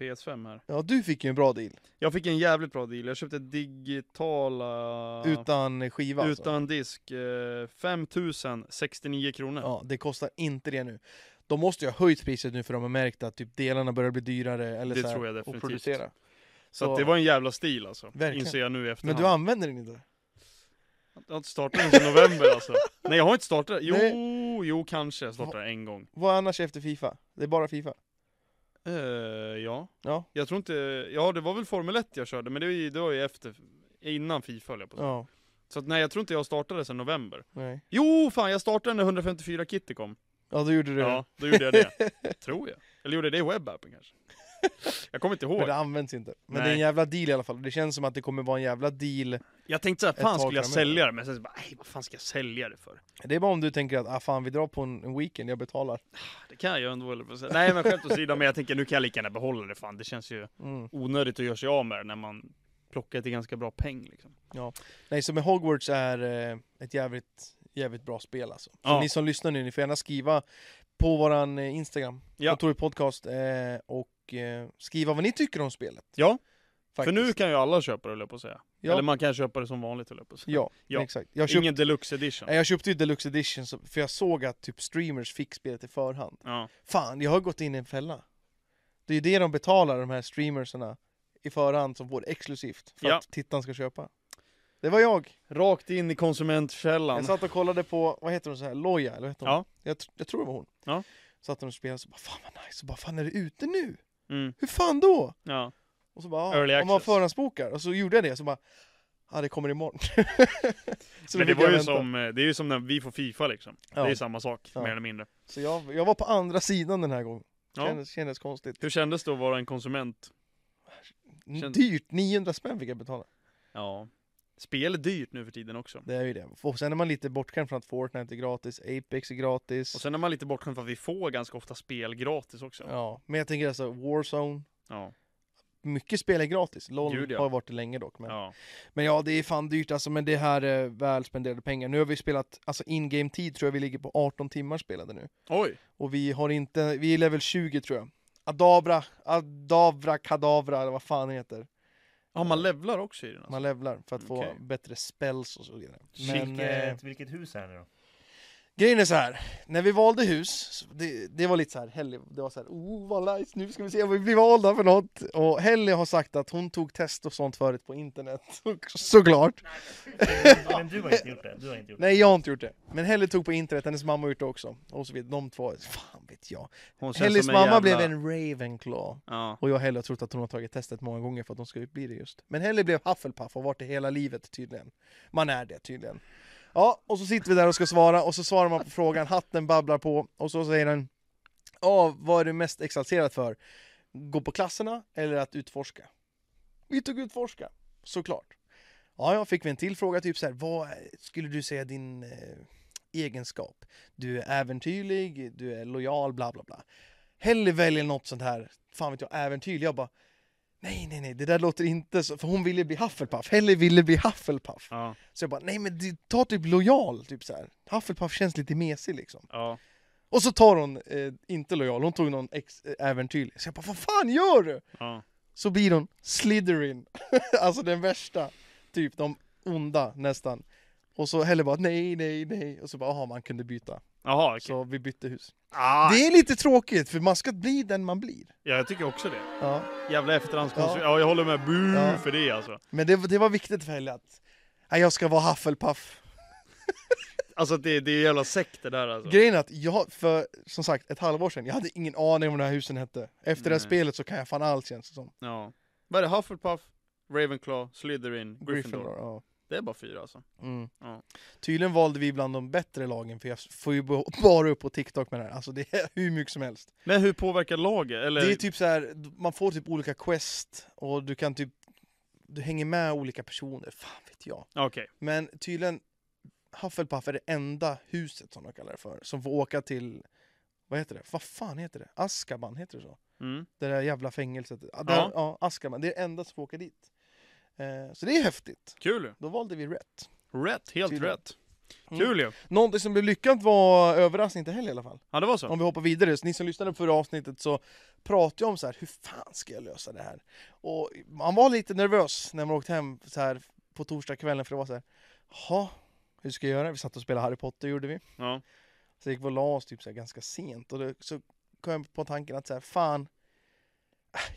A: PS5 här.
B: Ja, du fick ju en bra deal.
A: Jag fick en jävligt bra deal. Jag köpte digitala...
B: Utan skiva alltså.
A: Utan disk. Eh, 5069 kronor.
B: Ja, det kostar inte det nu. De måste ju ha höjt priset nu för de har märkt att typ delarna börjar bli dyrare eller
A: Det
B: så här,
A: tror jag
B: att
A: definitivt.
B: producera.
A: så att det var en jävla stil alltså.
B: Verkligen.
A: Inser jag nu i
B: Men
A: efterhand.
B: du använder den inte?
A: Jag har inte startat den sedan november alltså. Nej jag har inte startat Jo, jo kanske jag startade en gång.
B: Vad annars efter Fifa? Det är bara Fifa?
A: Eh, ja.
B: Ja.
A: Jag tror inte... Ja det var väl Formel 1 jag körde men det var ju, det var ju efter... Innan Fifa höll jag på att säga.
B: Ja,
A: Så att, nej jag tror inte jag startade sedan november.
B: nej.
A: Jo fan jag startade när 154 Kitty kom.
B: Ja, då gjorde du
A: Ja, då gjorde jag det. Mm. Tror jag. Eller gjorde jag det i webbappen kanske? Jag kommer inte
B: det. Men
A: ihåg.
B: det används inte. Men det är
A: Nej.
B: en jävla deal i alla fall. Det känns som att det kommer vara en jävla deal.
A: Jag tänkte
B: Ett
A: såhär, fan
B: tag
A: skulle jag
B: framöver.
A: sälja det? Men sen så bara, nej vad fan ska jag sälja det för?
B: Det är bara om du tänker att ah, fan, vi drar på en, en weekend, jag betalar.
A: Det kan jag ju ändå, eller vad säger- Nej men skämt åsido, men jag tänker nu kan jag lika gärna behålla det fan. Det känns ju
B: Mm.
A: onödigt att göra sig av med det när man plockar till ganska bra peng liksom.
B: Nej, så med Hogwarts är eh, ett jävligt, jävligt bra spel alltså. Så
A: Ja.
B: ni som lyssnar nu, ni får gärna skriva på våran eh, Instagram,
A: Ja.
B: ja. podcast, eh, och eh, skriva vad ni tycker om spelet.
A: Ja,
B: Faktiskt.
A: för nu kan ju alla köpa det höll jag på att säga.
B: Ja.
A: Eller man kan köpa det som vanligt höll jag på att säga.
B: Ja,
A: Ja. Eh,
B: exakt. Jag, köpt,
A: Ingen deluxe edition.
B: nej, jag köpte ju Deluxe Edition så, för jag såg att typ streamers fick spelet i förhand.
A: Ja.
B: Fan, jag har gått in i en fälla. Det är ju det de betalar, de här streamerserna, i förhand som får det exklusivt för
A: Ja.
B: att tittaren ska köpa. Det var jag.
A: Rakt in i konsumentkällan.
B: Jag satt och kollade på, vad heter hon så här, Loja, eller vad heter hon?
A: Ja.
B: Jag, tr- jag tror det var hon.
A: Ja.
B: Satt hon och spelade och så bara fan vad nice, och bara fan är det ute nu?
A: Mm.
B: Hur fan då?
A: Ja.
B: Och så bara,
A: Early
B: ja, om man
A: access.
B: förhandsbokar. Och så gjorde jag det, och så bara, ja det kommer imorgon. så
A: Men det
B: fick
A: var
B: jag
A: ju
B: vänta.
A: som, eh, det är ju som när vi får Fifa liksom.
B: Ja.
A: Det är ju samma sak,
B: Ja.
A: mer eller mindre.
B: Så jag, jag var på andra sidan den här gången.
A: Ja.
B: Kändes, kändes konstigt.
A: Hur kändes det att vara en konsument? Kändes-
B: Dyrt, 900 spänn fick jag betala.
A: Ja. Spel är dyrt nu för tiden också.
B: Det är ju det. Och sen är man lite bortskämd från att Fortnite är gratis, Apex är gratis.
A: Och sen är man lite bortskämd för att vi får ganska ofta spel gratis också. Ja.
B: Ja, men jag tänker alltså Warzone. Mycket spel är gratis. LOL
A: Gud, ja.
B: har ju varit det länge dock. Men...
A: ja.
B: Men ja, det är fan dyrt alltså, men det här är väl spenderade pengar. Nu har vi spelat, alltså in-game tid tror jag vi ligger på 18 timmar spelade nu.
A: Oj!
B: Och vi har inte, vi är level 20 tror jag. Adabra, Adabra, Kadabra eller vad fan det heter.
A: Ja, man levlar också i den alltså.
B: Man levlar för att få
A: Okej.
B: bättre spells och så vidare. Men, eh,
D: Vilket, vilket hus är det då?
B: Grejen är så här, när vi valde hus, så det, det var lite så här, Helly, det var så här, oh vad nice, nu ska vi se om vi blir valda för något. Och Helly har sagt att hon tog test och sånt förut på internet, så, såklart.
D: Men du har inte gjort det. Du har inte gjort det.
B: Nej, jag har inte gjort det. Men Helly tog på internet, hennes mamma har gjort det också. Och så vidare, de två, fan vet jag.
A: Hon känns
B: Hellys
A: som en
B: mamma
A: jävla-
B: blev en Ravenclaw.
A: Ja.
B: Och jag Helly har trott att hon har tagit testet många gånger för att hon ska bli det just. Men Helly blev Hufflepuff och varit det hela livet tydligen. Man är det tydligen. Ja, och så sitter vi där och ska svara och så svarar man på frågan, hatten babblar på och så säger den Ja, vad är du mest exalterad för? Gå på klasserna eller att utforska? Vi tog utforska, såklart. Ja, ja, fick vi en till fråga, typ så här, vad skulle du säga din eh, egenskap? Du är äventyrlig, du är lojal, bla bla bla. Hellre väljer något sånt här, fan vet jag, äventyrlig. Jag bara, nej, nej, nej, det där låter inte så, för hon ville bli Hufflepuff. Hellre ville bli Hufflepuff.
A: Ja.
B: Så jag bara, nej men du- ta typ lojal, typ så här. Hufflepuff känns lite mesig liksom.
A: Ja.
B: Och så tar hon, eh, inte lojal, hon tog någon ex- eh, äventyrlig. Så jag bara, vad fan gör du?
A: Ja.
B: Så blir hon Slytherin, alltså den värsta, typ de onda nästan. Och så Helle bara, nej, nej, nej. Och så bara, aha, man kunde byta.
A: Jaha, okej.
B: Så vi bytte hus.
A: Ah,
B: Det är lite tråkigt, för man ska bli den man blir.
A: Ja, jag tycker också det.
B: Ja.
A: Jävla efterhandskonstruktion. Ja. jag håller med. Bu
B: Ja.
A: för det alltså.
B: Men det, det var viktigt för Helle att, nej, jag ska vara Hufflepuff.
A: Alltså det, det är jävla sekt det där alltså.
B: Grejen är att jag, för som sagt, ett halvår sedan, jag hade ingen aning om vad de här husen hette. Efter det här
A: Nej.
B: spelet så kan jag fan allt känns det som.
A: Ja. Vad är det? Hufflepuff, Ravenclaw, Slytherin, Gryffindor.
B: Gryffindor. Ja.
A: Det är bara fyra alltså.
B: Mm.
A: Ja.
B: Tydligen valde vi bland de bättre lagen, för jag får ju bo- bara upp på TikTok med det här. Alltså det är hur mycket som helst.
A: Men hur påverkar laget? Eller?
B: Det är typ så här, man får typ olika quest och du kan typ, du hänger med olika personer, fan vet jag.
A: Okej.
B: Men tydligen, Hufflepuff är det enda huset som de kallar det för, som får åka till, vad heter det? Vad fan heter det? Azkaban, heter det så?
A: Mm.
B: Det där jävla fängelset. Ja, där, ja. Azkaban, det är det enda som får åka dit. Eh, så det är häftigt.
A: Kul ju.
B: Då valde vi rätt.
A: Rätt, helt
B: Tydligen.
A: rätt.
B: Mm.
A: Kul ju.
B: Någonting som blev lyckat var överraskning till helg i alla fall.
A: Ja det var så.
B: Om vi hoppar vidare, så ni som lyssnade på förra avsnittet så pratade jag om så här, hur fan ska jag lösa det här? Och man var lite nervös när man åkte hem så här på torsdagskvällen för det var så här, jaha, hur ska jag göra? Vi satt och spelade Harry Potter gjorde vi.
A: Ja.
B: Så gick vi och la oss typ så här ganska sent och då, så kom jag på tanken att så här, fan,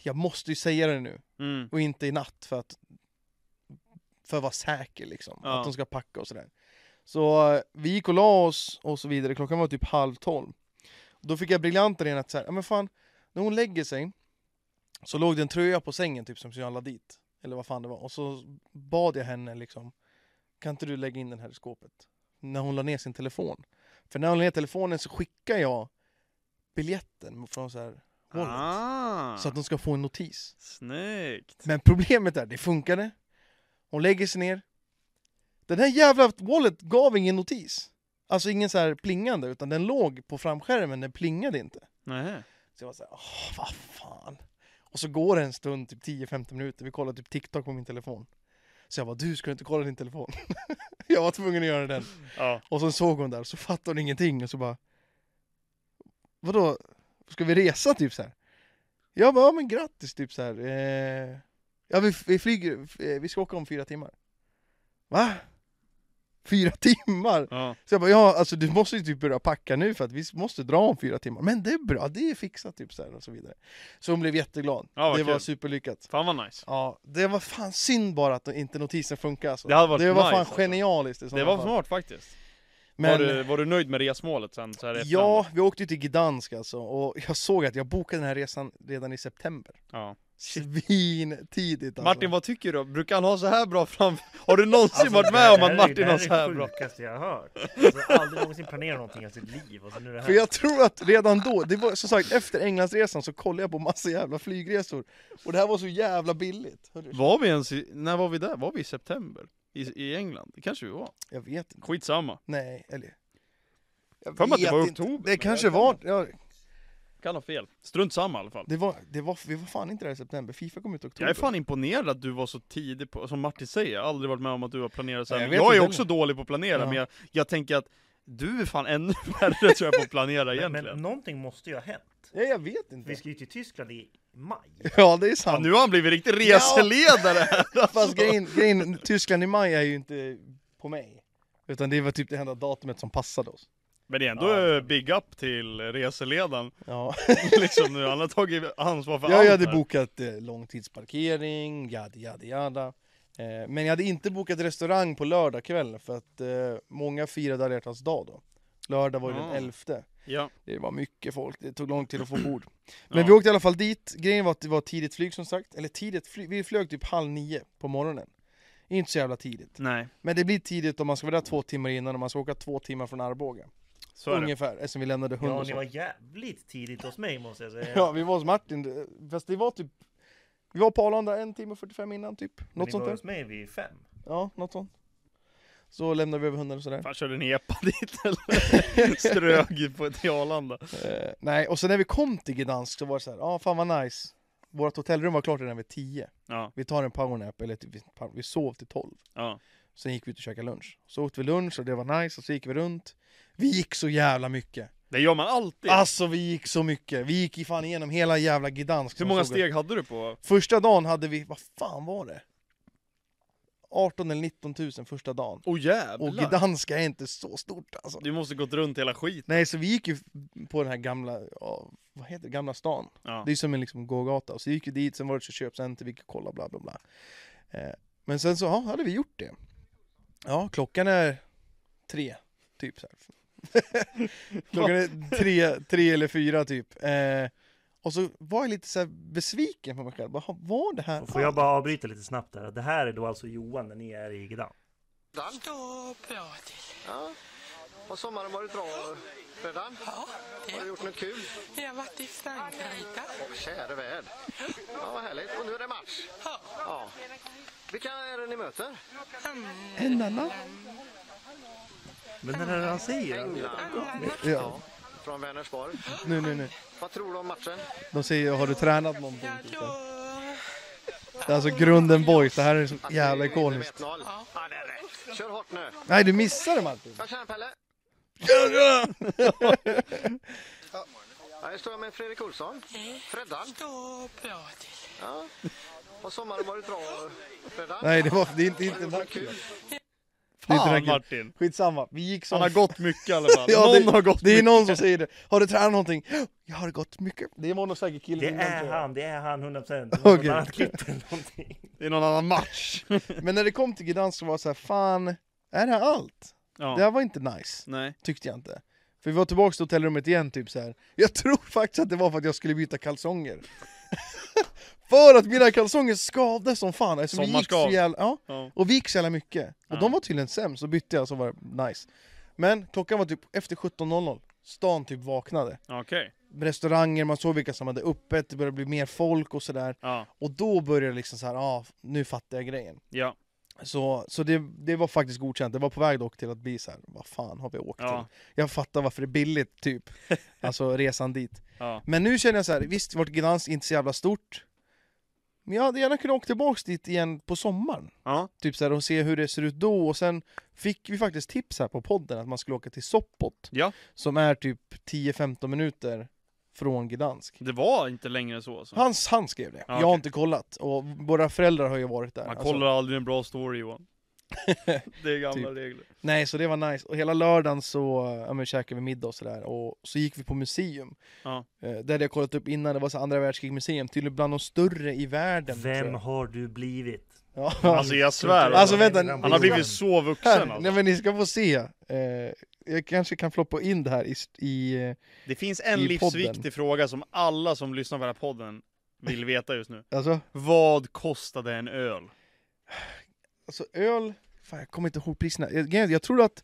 B: jag måste ju säga det nu
A: Mm.
B: och inte i natt för att för att vara säker liksom,
A: Ja.
B: att de ska packa och sådär. Så eh, vi gick och la oss och så vidare, klockan var typ halv tolv. Då fick jag briljanten igen att såhär, ja men fan, när hon lägger sig så låg det en tröja på sängen typ som jag la dit, eller vad fan det var. Och så bad jag henne liksom, kan inte du lägga in den här i skåpet? När hon la ner sin telefon. För när hon la ner telefonen så skickar jag biljetten från så här hållet,
A: Ah.
B: så att de ska få en notis.
A: Snyggt.
B: Men problemet är, det funkade. Hon lägger sig ner. Den här jävla wallet gav ingen notis. Alltså ingen så här plingande, utan den låg på framskärmen, den plingade inte.
A: Nej.
B: Så jag var så här, åh, vad fan. Och så går det en stund, typ 10-15 minuter, vi kollar typ TikTok på min telefon. Så jag bara, du ska du inte kolla din telefon? jag var tvungen att göra den.
A: Ja.
B: Och sen såg hon där, så fattade hon ingenting och så bara Vadå, ska vi resa typ så här? Jag bara, ja men grattis typ så här. Eh, ja vi, vi flyger, f- eh, vi ska åka om fyra timmar Va? Fyra timmar?
A: Ja.
B: Så jag bara, ja alltså du måste ju typ börja packa nu för att vi måste dra om fyra timmar Men det är bra, det är fixat typ så här och så vidare Så hon blev jätteglad,
A: Ja, vad
B: det var
A: kul.
B: superlyckat
A: Fan vad nice.
B: Ja, det var fan synd bara att inte notisen funkar alltså.
A: Det hade varit
B: Det var
A: nice,
B: fan
A: alltså.
B: genialiskt i
A: Det
B: sådana
A: var
B: fall.
A: smart faktiskt.
B: Men-
A: Var, du, var du nöjd med resmålet sen så här i
B: Ja,
A: efterhand?
B: vi åkte ju till Gdansk alltså och jag såg att jag bokade den här resan redan i september.
A: Ja.
B: Alltså. Svin tidigt alltså.
A: Martin vad tycker du? Brukar han ha så här bra fram? Har du någonsin varit
D: Alltså, det
A: med om
D: här
A: att
D: är-
A: Martin har så här
D: Det här är
A: bra?
D: det sjukaste jag har hört. Alltså, aldrig någonsin planerat någonting i sitt liv och så nu det här.
B: För jag tror att redan då, det var som sagt efter Englandsresan så kollade jag på massa jävla flygresor och det här var så jävla billigt. Hörru,
A: Var vi ens i, när var vi där? Var vi i september? I, i England? Det kanske vi var.
B: Jag vet inte.
A: Skitsamma.
B: Nej, eller... Jag
A: För mig att det
B: vet
A: var i
B: inte.
A: oktober, men
B: Det
A: jag
B: kanske
A: kan
B: var, ja,
A: Kan ha fel. Strunt samma i alla fall.
B: det var, det var, vi var fan inte där i september, Fifa kom ut i oktober.
A: Jag är fan imponerad att du var så tidig på, som Martin säger, jag har aldrig varit med om att du har planerat så här.
B: Nej, jag
A: Jag,
B: vet
A: jag är
B: inte
A: också dålig på att planera,
B: Ja.
A: men jag, jag tänker att du är fan ännu värre tror jag på att planera
D: Men,
A: egentligen.
D: men någonting måste ju ha hänt.
B: Ja, jag vet inte.
D: Vi ska ju till Tyskland i maj.
B: Ja, det är
A: ja,
B: sant.
A: nu har han blivit riktig reseledare här!
B: Fast grejen, grejen, Tyskland i maj är ju inte på mig. Utan det var typ det enda datumet som passade oss.
A: Men igen, då
D: Ja,
A: är big up till reseledaren.
B: Ja.
A: liksom nu, han har tagit ansvar för
B: Jag
A: allt
B: hade
A: här.
B: bokat eh, långtidsparkering, jada jada jada. Eh, men jag hade inte bokat restaurang på lördag kväll för att eh, många firade alla hjärtans dag då. Lördag var ju den
A: Ah.
B: 11.
A: Ja.
B: Det var mycket folk, det tog lång tid att få bord. Men
A: Ja.
B: vi åkte i alla fall dit, grejen var att det var tidigt flyg som sagt. Eller tidigt flyg, vi flög typ halv nio på morgonen. Inte så jävla tidigt.
A: Nej,
B: Men det blir tidigt om man ska vara där två timmar innan och man ska åka två timmar från Arboga.
A: så är det.
B: Ungefär, eftersom vi lämnade hund
D: Ja,
B: och
D: ni
B: sånt.
D: var jävligt tidigt hos mig måste jag säga.
B: Ja, vi var hos Martin, fast det var typ Vi var på Arlanda en timme och 45 innan typ,
D: Men
B: något
D: ni
B: sånt
D: var
B: där
D: hos mig vid fem.
B: Ja, något sånt Så lämnade vi över hundar och sådär
A: Fan, körde ni epa dit eller? Strög på till Arlanda.
B: eh, Nej, och sen när vi kom till Gdansk så var det så här, ja ah, fan vad nice Vårt hotellrum var klart redan vid 10
A: Ja,
B: Vi tar en powernap, eller typ, vi- pow- vi sov till 12
A: ja.
B: Sen gick vi ut och käkade lunch Så åt vi lunch och det var nice, och så gick vi runt Vi gick så jävla mycket!
A: Det gör man alltid.
B: Alltså vi gick så mycket! Vi gick ju fan igenom hela jävla Gdansk
A: Hur
B: som
A: många
B: såg-
A: steg hade du på?
B: Första dagen hade vi, vad fan var det? 18 eller 19 000 första dagen.
A: Åh oh,
B: Och
A: jävlar!
B: Gdanska är inte så stort alltså.
A: Du måste gått runt hela skiten.
B: Nej, så vi gick ju på den här gamla, ja, vad heter det, gamla stan.
A: Ja.
B: Det är som en liksom gågata. Och Så gick vi dit, sen var det ett köpcenter, vi gick och kollade bla bla bla. Eh, men sen så, ja, hade vi gjort det. Ja, klockan är tre, typ så här. klockan är tre, tre eller fyra typ. Eh, och så var jag lite så här besviken på mig själv. Bara, var det här
D: Får jag bara avbryta lite snabbt där? Det här är då alltså Johan när ni är i Gdansk.
E: Står bra till.
F: Ja. Och sommaren varit bra redan?
E: Ja,
F: Har du
E: det.
F: gjort något kul?
E: Jag har varit i Frankrike.
F: Käre värld. Ja, vad härligt. Och nu är det match.
E: Ja.
F: Ja. Vilka är det ni möter?
B: En annan?
D: Men det här han säger,
F: England.
B: Ja.
F: Från Vänersborg.
B: Nu, nu, nu.
F: Vad tror du om matchen?
B: De säger har du tränat någonting?
E: Jag
B: Typ.
E: tror...
B: Det är alltså grunden boys, det här är så
F: Att ni
B: jävla
F: vinner med
B: ikoniskt.
F: 1-0? Ja, det är rätt. Kör hårt nu.
B: Nej du missade Martin!
F: Jag känner Pelle. Ja, jag står med Fredrik Olsson. Freddan.
E: Står bra till.
F: Ja. Och sommaren varit bra redan?
B: Nej det, var, det är inte, det är
F: Har
B: inte
F: du gjort något
B: Martin.
F: kul?
B: Det är inte
A: Fan
B: Rakel.
A: Martin!
B: Skitsamma, vi gick som
A: Han har gått mycket i alla fall.
B: Ja,
A: någon
B: det,
A: har gått
B: Det är
A: mycket.
B: någon som säger det. Har du tränat någonting? Jag har gått mycket. Det var nog säkert killen
D: det
B: innan,
D: är
B: tror jag.
D: han, det är han 100 procent. Det var något
B: Okej.
D: annat klipp eller någonting.
A: Det är någon annan match.
B: Men när det kom till Gdansk så var det så här, fan, är det här allt?
A: Ja. Mm.
B: Det här var inte nice,
A: Nej.
B: tyckte jag inte. För vi var tillbaka till hotellrummet igen typ så här. Jag tror faktiskt att det var för att jag skulle byta kalsonger. för att mina kalsonger skavde som fan. Alltså, vi gick så
A: Sommarskav.
B: jävla, ja.
A: Ja.
B: Och vi gick så jävla mycket. Och de var tydligen sämst, så bytte jag så var det nice. Men klockan var typ efter 17.00, stan typ vaknade.
A: Okej.
B: Restauranger, man såg vilka som hade öppet, det började bli mer folk och sådär.
A: Ja.
B: Och då började det liksom så här, ja ah, nu fattar jag grejen.
A: Ja.
B: Så, så det, det var faktiskt godkänt, det var på väg dock till att bli så här, vad fan har vi åkt
A: Ja.
B: till? Jag fattar varför det är billigt typ, alltså resan dit.
A: Ja.
B: Men nu känner jag så här, visst vårt Gdansk är inte så jävla stort, men jag hade gärna kunnat åka tillbaks dit igen på sommaren.
A: Ja.
B: Typ så här, och se hur det ser ut då, och sen fick vi faktiskt tips här på podden att man skulle åka till Sopot,
A: Ja.
B: som är typ 10-15 minuter från Gdansk.
A: Det var inte längre så alltså.
B: Han, han skrev det.
A: Ja,
B: Jag har
A: okej.
B: inte kollat. Och våra föräldrar har ju varit där.
A: Man
B: Alltså,
A: kollar aldrig en bra story Johan. Det är gamla regler.
B: nej, så det var nice. Och hela lördagen så ja, men, käkade vi middag och sådär. Och så gick vi på museum.
A: Ja.
B: Eh, det hade jag kollat upp innan. Det var så andra världskrigsmuseum. Tydligen bland de större i världen.
D: Vem
B: tror jag.
D: har du blivit?
B: Ja.
A: Alltså jag svär.
B: Alltså,
A: Alltså,
B: vänta,
A: han har blivit så vuxen
B: här, nej,
A: alltså.
B: men ni ska få se. Eh, jag kanske kan floppa in det här i... st- i eh,
A: Det finns en
B: i podden.
A: livsviktig fråga som alla som lyssnar på den här podden vill veta just nu.
B: alltså,
A: Vad kostade en öl?
B: alltså öl... Fan, jag kommer inte ihåg priserna. Jag, jag, jag tror att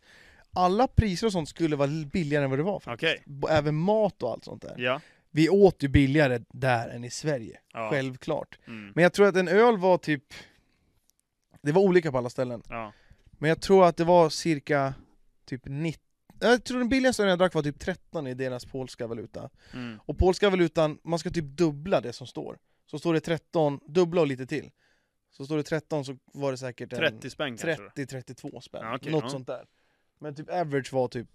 B: alla priser och sånt skulle vara billigare än vad det var. faktiskt.
A: Okej.
B: B- Även mat och allt sånt där.
A: Ja.
B: Vi åt ju billigare där än i Sverige,
A: Ja.
B: självklart.
A: Mm.
B: Men jag tror att en öl var typ... Det var olika på alla ställen.
A: Ja.
B: Men jag tror att det var cirka typ 90... Jag tror den billigaste ölen jag drack var typ 13 i deras polska valuta.
A: Mm.
B: Och polska valutan, man ska typ dubbla det som står. Så står det 13, dubbla och lite till. Så står det 13 så var det säkert en
A: 30 spänn kanske? då?
B: 30-32 spänn.
A: Ja, okej,
B: Något
A: ja.
B: sånt där. Men typ average var typ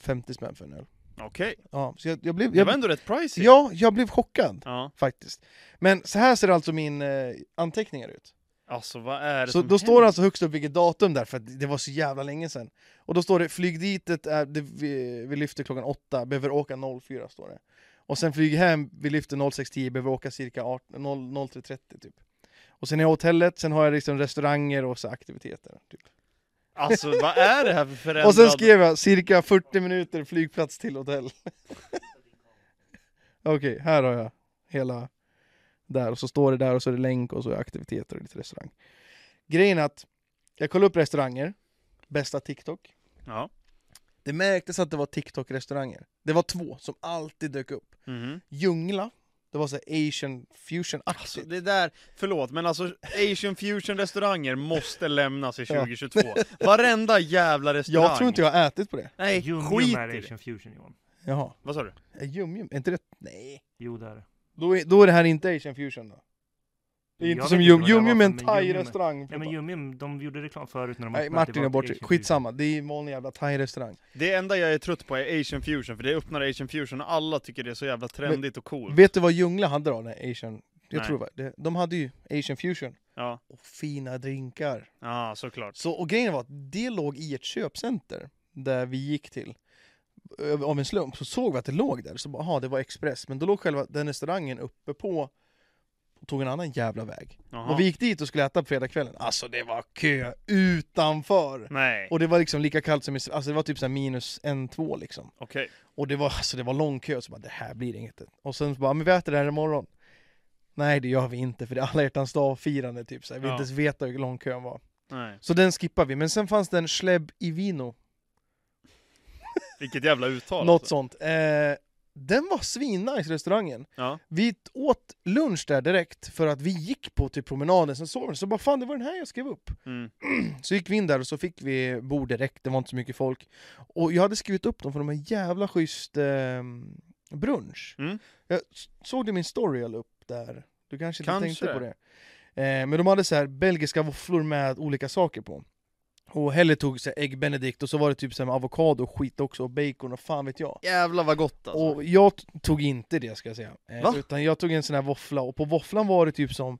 B: 50 spänn för en öl.
A: Okej.
B: Ja, så jag, jag blev...
A: Det var
B: Jag,
A: ändå rätt pricey.
B: ja, jag blev chockad
A: Ja.
B: faktiskt. Men så här ser alltså min eh, anteckningar ut.
A: Alltså vad är det
B: Så
A: som
B: då står det
A: händer?
B: alltså högst upp vilket datum där, för att det var så jävla länge sedan. Och då står det flyg ditet, är, det, vi, vi lyfter klockan 8, behöver åka 04 står det. Och sen flyg hem, vi lyfter 06.10, behöver åka cirka 18 0 03.30 typ. Och sen är jag hotellet, sen har jag liksom restauranger och så aktiviteter. Typ.
A: Alltså vad är det här för förändrad...
B: Och sen skrev jag cirka 40 minuter flygplats till hotell. Okej, här har jag hela där och så står det där och så är det länk och så är det aktiviteter och lite restaurang. Grejen är att jag kollade upp restauranger, bästa TikTok.
A: Ja.
B: Det märktes att det var TikTok-restauranger. Det var två som alltid dök upp.
A: Mhm.
B: Djungla, det var så här asian fusion-aktigt.
A: Alltså det där, förlåt men alltså Asian fusion restauranger måste lämnas i
B: Ja.
A: 2022. Varenda jävla Alltså, restaurang.
B: jag tror inte jag har ätit på det.
A: Nej,
D: Ljungjum
A: skit
D: är
A: i det.
D: Asian fusion Johan.
B: Jaha,
A: Vad sa du?
B: är Yum-Yum, är inte det? Nej.
D: Jo det är det.
B: Då är, då är det här inte asian fusion då? Det är
D: Mm,
B: inte
D: Jag vet
B: som
D: inte
B: Yum
D: vad det där
B: Yum
D: var
B: Yum är en
D: för, men Yum Yum är-
B: thai-restaurang.
D: Nej men Ljungjum, de gjorde reklam förut när de
B: Nej,
D: öppnade att det
B: Martin
D: var
B: är bort
D: Asian
B: det.
D: fusion.
B: Skitsamma, det är en vanlig jävla thai-restaurang.
A: Det enda jag är trött på är Asian fusion, för det öppnar Asian fusion och alla tycker det är så jävla trendigt och
D: Mm.
A: coolt.
B: Vet du vad Ljungla hade då? Den asian... Jag
A: Nej.
B: tror det var, det- de hade ju asian fusion.
A: Ja,
B: Och fina drinkar.
A: ja såklart.
B: Så, och grejen var att det låg i ett köpcenter där vi gick till. Ö- Av en slump så såg vi att det låg där. Så bara, aha, det var Express. Men då låg själva den restaurangen uppe på och tog en annan jävla väg.
A: Jaha.
B: Och vi gick dit och skulle äta på fredagskvällen. Alltså det var kö utanför!
A: Nej,
B: Och det var liksom lika kallt som i, alltså det var typ så här minus en, två liksom.
A: okej.
B: Och det var, alltså det var lång kö, så bara det här blir inget. Och sen så bara, men vi äter det här imorgon. Nej det gör vi inte för det är alla hjärtans dag-firande typ så här. Vi
A: Ja.
B: inte ens vet hur lång kön var.
A: Nej.
B: Så den skippar vi, men sen fanns det en Schleb i Vino,
A: Vilket jävla uttal.
B: något
A: alltså.
B: sånt. Eh, den var svinnice restaurangen.
A: Ja.
B: Vi t- åt lunch där direkt för att vi gick på till promenaden, sen såg vi så bara fan det var den här jag skrev upp.
A: Mm.
B: Så gick vi in där och så fick vi bord direkt, det var inte så mycket folk. Och jag hade skrivit upp dem för de här jävla schysst eh, brunch.
A: Mm.
B: Jag s- såg det i min story jag la upp där. Du kanske inte
A: Kanske.
B: tänkte på det. Eh, men de hade så här belgiska våfflor med olika saker på. Och Helle tog så här ägg benedict och så var det typ så här med avokado och skit också och bacon och fan vet jag.
A: Jävlar vad gott alltså.
B: Och jag t- tog inte det ska jag säga. Eh,
A: Va?
B: Utan jag tog en sån här våffla och på våfflan var det typ som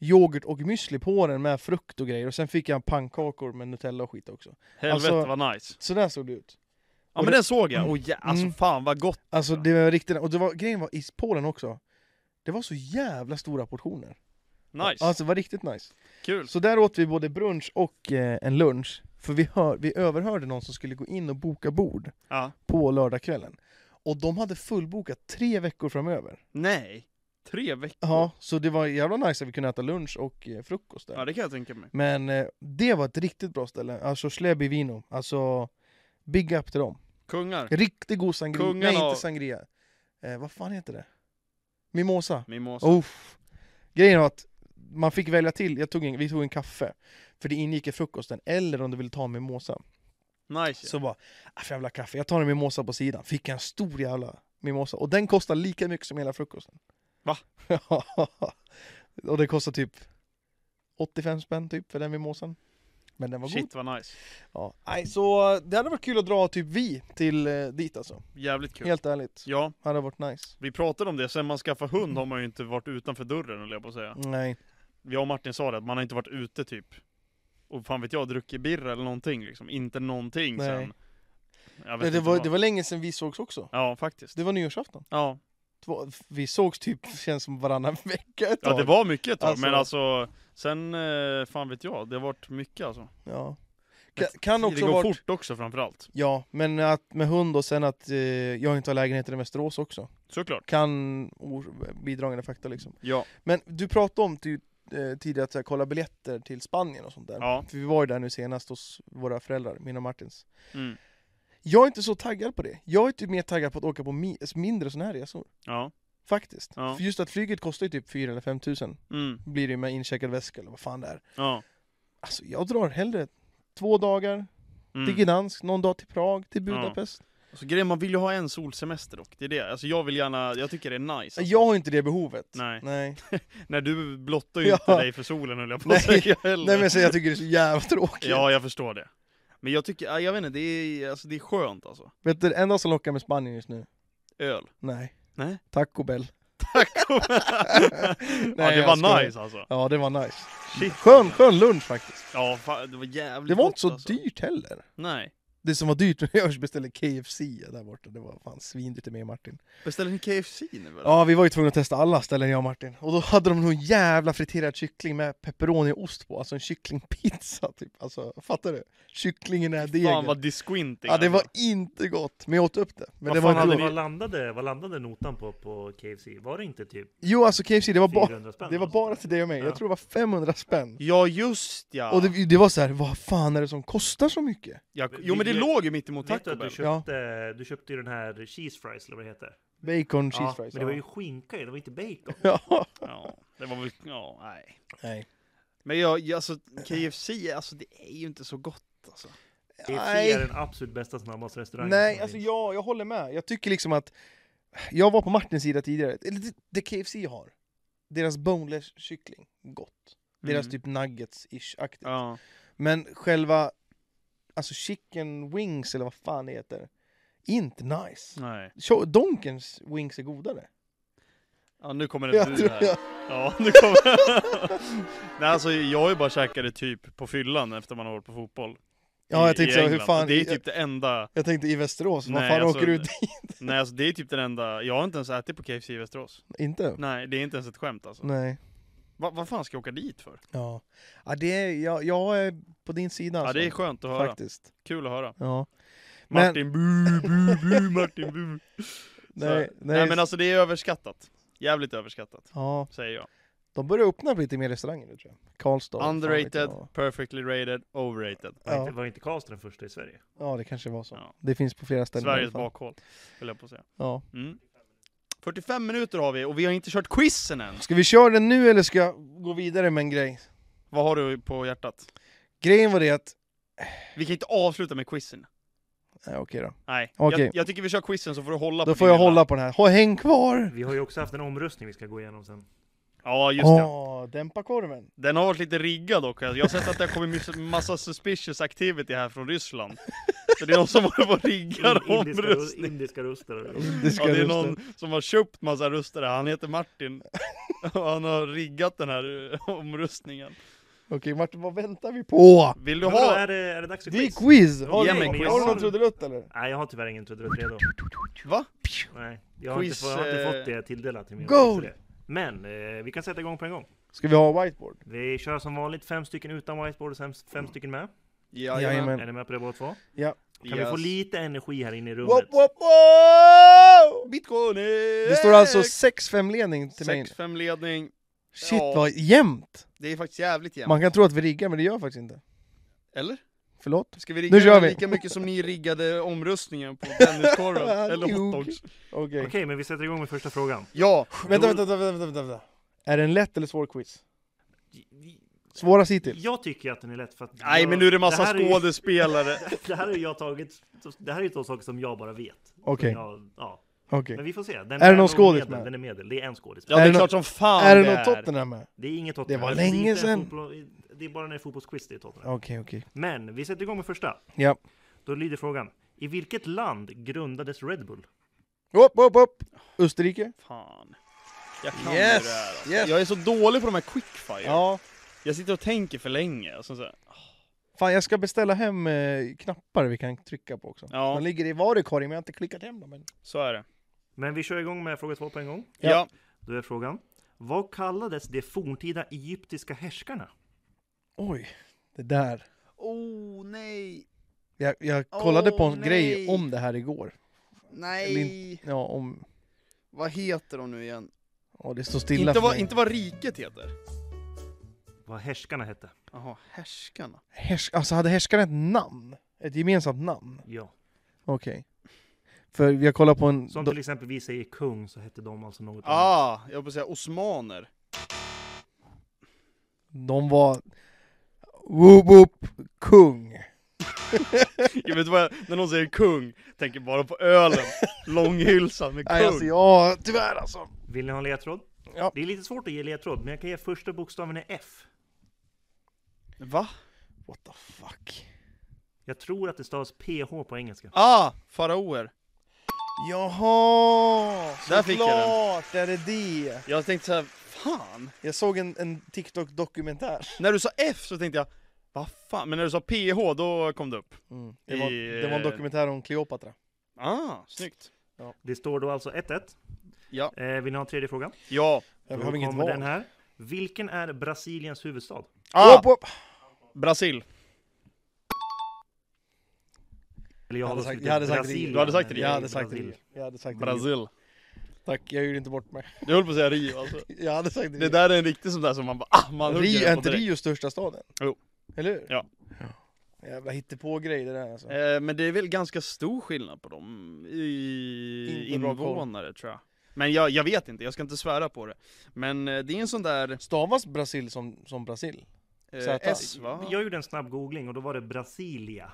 B: yoghurt och müsli på den med frukt och grejer och sen fick jag pannkakor med nutella och skit också.
A: Helvete
B: alltså-
A: vad nice.
B: Så där såg det ut.
A: Ja
B: och
A: men
B: det-
A: den såg jag. Oh, ja, alltså
B: Mm.
A: fan vad gott.
B: Alltså det var riktigt, och det var, grejen var i Polen också. Det var så jävla stora portioner.
A: Nice.
B: Alltså det var riktigt nice.
A: Kul.
B: Så där åt vi både brunch och eh, en lunch. För vi, hör, vi överhörde någon som skulle gå in och boka bord
A: Ja.
B: på lördagskvällen. Och de hade fullbokat tre veckor framöver.
A: Nej. Tre veckor.
B: Ja, så det var jävla nice att vi kunde äta lunch och eh, frukost där.
A: Ja det kan jag tänka mig.
B: Men eh, det var ett riktigt bra ställe. Alltså Schleb i Vino. Alltså, big up till dem.
A: Kungar.
B: Riktigt god sangria.
A: Kungen
B: Nej,
A: av-
B: inte sangria. Eh, vad fan heter det? Mimosa.
A: Mimosa.
B: Uff. Grejen var att man fick välja till. Jag tog en, vi tog en kaffe. För det ingick i frukosten. Eller om du ville ta en mimosa.
A: Nice.
B: Så bara, ah, för jävla kaffe. Jag tar en mimosa på sidan. Fick en stor jävla mimosa. Och den kostar lika mycket som hela frukosten.
A: Va?
B: Ja. och det kostar typ 85 spänn typ för den mimosan. Men den var god.
A: Shit vad nice.
B: Ja. Nej, så det hade varit kul att dra typ vi till eh, dit alltså.
A: Jävligt kul.
B: Helt ärligt.
A: Ja,
B: Hade varit nice.
A: vi pratade om det, sen man skaffade hund har man ju inte varit utanför dörren höll jag på att säga.
B: Nej.
A: Jag och Martin sa det, att man har inte varit ute typ. Och fan vet jag, druckit birra eller någonting liksom. Inte någonting
B: Nej.
A: sen. Jag vet
B: Men det,
A: inte
B: var,
A: vad.
B: det var länge sedan vi sågs också.
A: Ja, faktiskt.
B: Det var nyårsafton.
A: Ja.
B: Två, vi sågs typ, känns som varannan vecka ett
A: ja, det
B: tag.
A: var mycket ett tag,
B: Alltså-
A: men alltså. Sen, eh, fan vet jag, det har varit mycket alltså.
B: Ja. Ka, kan
A: Det
B: också
A: går
B: varit...
A: fort också framförallt.
B: Ja, men att med hund och sen att eh, jag inte har lägenheten i Västerås också
A: Såklart.
B: kan or- bidragande faktor liksom.
A: Ja.
B: Men du pratade om ty- eh, tidigare att så här, kolla biljetter till Spanien och sånt där.
A: Ja.
B: För vi var ju där nu senast hos våra föräldrar, mina och Martins.
A: Mm.
B: Jag är inte så taggad på det. Jag är typ mer taggad på att åka på mi- mindre sådana här resor.
A: Ja.
B: Faktiskt.
A: Ja.
B: För just att flyget kostar ju typ 4 eller 5 tusen.
A: Mm.
B: Blir det ju med incheckad väska eller vad fan det är.
A: Ja.
B: Alltså jag drar hellre två dagar till
A: Mm.
B: Gdansk, någon dag till Prag, till Budapest.
A: Så Alltså, grejen, man vill ju ha en solsemester dock. Det är det. Alltså jag vill gärna, jag tycker det är nice. Alltså.
B: Jag har inte det behovet.
A: Nej.
B: Nej.
A: Nej du blottar ju inte
B: Ja.
A: dig för solen höll jag på
B: Nej.
A: att säga heller.
B: Nej men så jag tycker det är så jävla tråkigt.
A: Ja jag förstår det. Men jag tycker, ja, jag vet inte, det är, alltså, det är skönt alltså.
B: Vet du, det enda som lockar med Spanien just nu?
A: Öl.
B: Nej.
A: Nej.
B: Taco Bell.
A: ja, det
B: jag
A: var
B: skojar.
A: nice alltså.
B: Ja, det var nice.
A: Shit.
B: Skön, skön lunch faktiskt.
A: Ja, fan, det var jävligt
B: Det var
A: gott,
B: inte så
A: alltså.
B: dyrt heller.
A: Nej.
B: Det som var dyrt när jag beställde KFC där borta, det var fan svindyrt med Martin.
A: Beställde ni KFC nu eller?
B: Ja, vi var ju tvungna att testa alla ställen jag och Martin. Och då hade de någon jävla friterad kyckling med pepperoni och ost på, alltså en kycklingpizza typ. Alltså, fattar du? Kycklingen är degen.
A: Fan vad disquinting.
B: Ja, det var
A: alltså.
B: inte gott, men jag åt upp det. Men
A: Vad
B: det
A: fan
B: var inte
A: hade
B: gott.
A: ni-
D: Vad landade, vad landade notan på på KFC? Var det inte typ
B: Jo, alltså KFC, det var, bara
D: 400 spänn alltså.
B: det var bara till dig och mig.
D: Ja.
B: Jag tror det var 500 spänn.
A: Ja just ja!
B: Och det, det var så här, vad fan är det som kostar så mycket?
A: jag, jo men det
D: Vi-
A: låg ju mitt emot
D: Vet
A: Taco
D: du att du
A: Bell.
D: köpte, du köpte ju den här cheese fries eller vad det heter?
B: Bacon,
D: ja,
B: cheese fries.
D: men det var ju skinka i, det var inte bacon.
B: ja.
A: Ja, det var väl, ja nej.
B: Nej.
A: Men jag, jag, alltså KFC, alltså det är ju inte så gott alltså.
D: KFC är den absolut bästa snabbaste restaurangen
B: Nej,
D: som
B: alltså
D: finns.
B: jag, jag håller med. Jag tycker liksom att... Jag var på Martins sida tidigare. Eller det, det KFC har. Deras boneless kyckling, gott. Deras
A: Mm.
B: typ nuggets-ish-aktigt.
A: Ja.
B: Men själva... Alltså chicken wings eller vad fan det heter. Inte nice.
A: Nej.
B: Cho- Donkens wings är godare.
A: Ja nu kommer det
B: Jag
A: du
B: tror
A: här.
B: jag...
A: Ja nu kommer Nej alltså jag har ju bara käkat det typ på fyllan efter man har varit på fotboll.
B: Ja,
A: I-
B: jag tänkte
A: i
B: säga, hur
A: England.
B: fan...
A: Det är
B: jag,
A: typ det enda,
B: jag tänkte i Västerås, vad
A: Nej,
B: fan
A: alltså-
B: åker du ut dit?
A: nej alltså det är typ den enda, jag har inte ens ätit på KFC i Västerås.
B: Inte?
A: Nej det är inte ens ett skämt alltså.
B: Nej.
A: Va, vad fan ska jag åka dit för?
B: Ja. ja det är, jag, jag är på din sida
A: Ja
B: alltså,
A: det är skönt att höra,
B: Faktiskt.
A: kul att höra.
B: Ja. Men-
A: Martin bu, bu, bu, Martin bu.
B: Nej,
A: nej,
B: nej,
A: nej men alltså det är överskattat. Jävligt överskattat,
B: Ja,
A: säger jag.
B: de börjar öppna lite mer restauranger nu tror jag. Karlstad. fan vet
A: Underrated,
B: jag.
A: perfectly rated, overrated.
D: Var,
B: Ja,
D: inte, var inte Karlstad den första i Sverige?
B: ja, det kanske var så.
A: Ja.
B: Det finns på flera ställen. i alla
A: Sveriges
B: fall.
A: bakhåll, höll jag på att säga.
B: Ja.
A: Mm. 45 minuter har vi och vi har inte kört quizen än.
B: Ska vi köra den nu eller ska jag gå vidare med en grej?
A: Vad har du på hjärtat?
B: Grejen var det att...
A: Vi kan inte avsluta med quizen.
B: Nej, okej då.
A: Nej,
B: Okej.
A: jag, jag tycker vi kör quizen så får du hålla på
B: Då får
A: din
B: jag
A: lilla-
B: hålla på den här. Ha, häng kvar!
D: Vi har ju också haft en omröstning vi ska gå igenom sen.
A: Ja just det.
B: Åh, dämpa korven.
A: Den har varit lite riggad dock. Jag har sett att det har kommit massa suspicious activity här från Ryssland. Så det är någon som håller på och riggar
D: In, indiska, ru-
A: omröstning.
D: indiska röster.
B: Det
A: Ja,
B: ska
A: det är
B: rösta.
A: någon som har köpt massa röster här. Han heter Martin. Och han har riggat den här eh, omröstningen.
B: Okej Martin, vad väntar vi på?
A: Vill du
D: Men vadå,
A: ha...
D: är, det, är det dags för
B: Det är
D: quiz?
B: quiz! Har
A: Ge
B: du,
A: mig
B: har
A: quiz.
B: du någon trudelutt eller?
D: Nej, jag har tyvärr ingen trudelutt redo.
A: Va?
D: Nej, jag har,
A: Quiz,
D: inte, fått- jag har inte
A: eh,
D: fått det tilldelat till mig.
B: Go!
D: för det. Men eh, vi kan sätta igång på en gång.
B: Ska vi ha whiteboard?
D: Vi kör som vanligt fem stycken utan whiteboard och sen fem
A: Mm.
D: stycken med.
B: Jajamän.
D: Är ni med på det båda två?
B: Ja.
D: Kan vi få lite energi här inne i rummet?
B: Wop, wop, wop!
A: Bitcoin!
B: Det står alltså 6-5 ledning till mig.
A: 6-5 ledning.
B: Shit
A: Ja.
B: vad jämnt!
A: Det är faktiskt jävligt jämnt.
B: Man kan tro att vi riggar men det gör vi faktiskt inte.
A: Eller?
B: Förlåt?
A: Ska vi rigga
B: Nu kör vi.
A: lika mycket som ni riggade omromröstningen på tenniskorven? Eller
B: Nog.
A: hotdogs?
B: Okej.
D: Okej, men vi sätter igång med första frågan.
A: Ja!
B: Vänta, vänta, vänta, vänta, vänta, vänta. Är det en lätt eller svår quiz? Svårast hittills?
D: Jag tycker att den är lätt för att...
A: Nej
D: jag,
A: men nu är det massa
D: här är ju-
A: skådespelare.
D: Det här har ju jag tagit... Det här är ju två saker som jag bara vet. Som
B: Okej.
D: jag- Ja.
B: Okej.
D: Men vi får se. Den
B: Är det någon
D: nog
B: skådis
D: medel,
B: med?
D: Den är medel. Det är en skådis.
A: Ja det
B: Är
A: är
B: det
A: klart som fan
B: Är det någon Tottenham med?
D: Det är inget Tottenham.
B: Det var
D: Alltså, är
B: länge
D: inte en
B: sedan.
D: fotboll- Det är bara när det är fotbollsquiz det är Tottenham.
B: Okej, okej.
D: Men vi sätter igång med första.
B: Ja.
D: Då lyder frågan. I vilket land grundades Red Bull?
B: Hopp, hopp, hopp! Österrike?
A: Fan. Jag kan
B: Yes,
A: det där alltså.
B: yes.
A: Jag är så dålig på de här quickfire.
B: Ja.
A: Jag sitter och tänker för länge. Och sen så här,
B: Fan, jag ska beställa hem eh, knappar vi kan trycka på också.
A: Ja.
B: De ligger i varukorgen men jag har inte klickat hem dem än.
A: så är det.
D: Men vi kör igång med fråga två på en gång.
A: Ja.
B: Ja.
D: Då är frågan. Vad kallades de forntida egyptiska härskarna?
B: Oj, det där.
A: Oh nej.
B: Jag, jag kollade på en
A: Åh,
B: grej
A: nej.
B: om det här igår.
A: Nej.
B: Ja, om...
A: Vad heter de nu igen?
B: Ja, det står stilla
A: Inte
B: för
A: vad,
B: mig.
A: inte vad riket heter.
D: Vad härskarna hette?
A: Jaha, härskarna.
B: Härs- alltså hade härskarna ett namn? Ett gemensamt namn?
D: Ja.
B: Okej. För vi har kollat på en...
D: Som
B: do-
D: till exempel vi säger kung så hette de alltså något annat.
A: Ah, jag höll på att säga osmaner.
B: de var... Woop woop, kung.
A: Jag vet vad jag, när någon säger kung, tänker bara på ölen. Långhylsan med
B: Nej, alltså
A: kung.
B: jag... Tyvärr alltså.
D: Vill ni ha en ledtråd?
B: Ja.
D: Det är lite svårt att ge ledtråd, men jag kan ge första bokstaven är F.
A: Va?
B: What the fuck?
D: Jag tror att det stavas PH på engelska.
A: Ah, faraoer.
B: Jaha!
A: Där fick jag den.
B: Såklart är det det!
A: Jag tänkte så här, fan.
B: Jag såg en, en TikTok-dokumentär.
A: När du sa F så tänkte jag, vad fan. Men när du sa PH då kom det upp.
B: Mm. Det, var,
A: I,
B: det var en
A: eh,
B: dokumentär om Cleopatra.
A: Ah, snyggt.
D: Det står då alltså 1-1.
A: Ja.
D: Eh, vill ni ha en tredje fråga?
A: Ja.
B: Jag
D: Då
B: har inget
D: kommer
B: val.
D: den här. Vilken är Brasiliens huvudstad?
A: Ah,
B: Hopp, hopp.
A: Brasil.
D: Eller jag,
B: Jag hade
D: har
B: sagt-
D: skrivit
B: jag hade sagt Rio.
D: Brasilien,
A: Du hade sagt
D: men
A: Rio.
B: Jag
D: är
B: hade sagt
D: Brasil.
B: Rio. Jag hade sagt Rio.
A: Brasil.
B: Tack, jag gjorde inte bort mig.
A: Du höll på att säga Rio alltså.
B: Jag hade sagt
A: Det
B: Rio.
A: där är en riktig sån där som man bara, ah, man hugger
B: Rio
A: den
B: är
A: på
B: inte
A: direkt.
B: Rio största staden?
A: Jo.
B: Eller hur?
A: Ja.
B: Jävla hittepågrej det där alltså.
A: Eh, men det är väl ganska stor skillnad på dem i
B: Inte bra koll.
A: invånare tror jag. Men jag, jag vet inte, jag ska inte svära på det. Men eh, det är en sån där
B: Stavas Brasil som, som Brasil?
A: eh,
B: Zäta.
A: S va?
D: Jag gjorde en snabb googling och då var det Brasilia.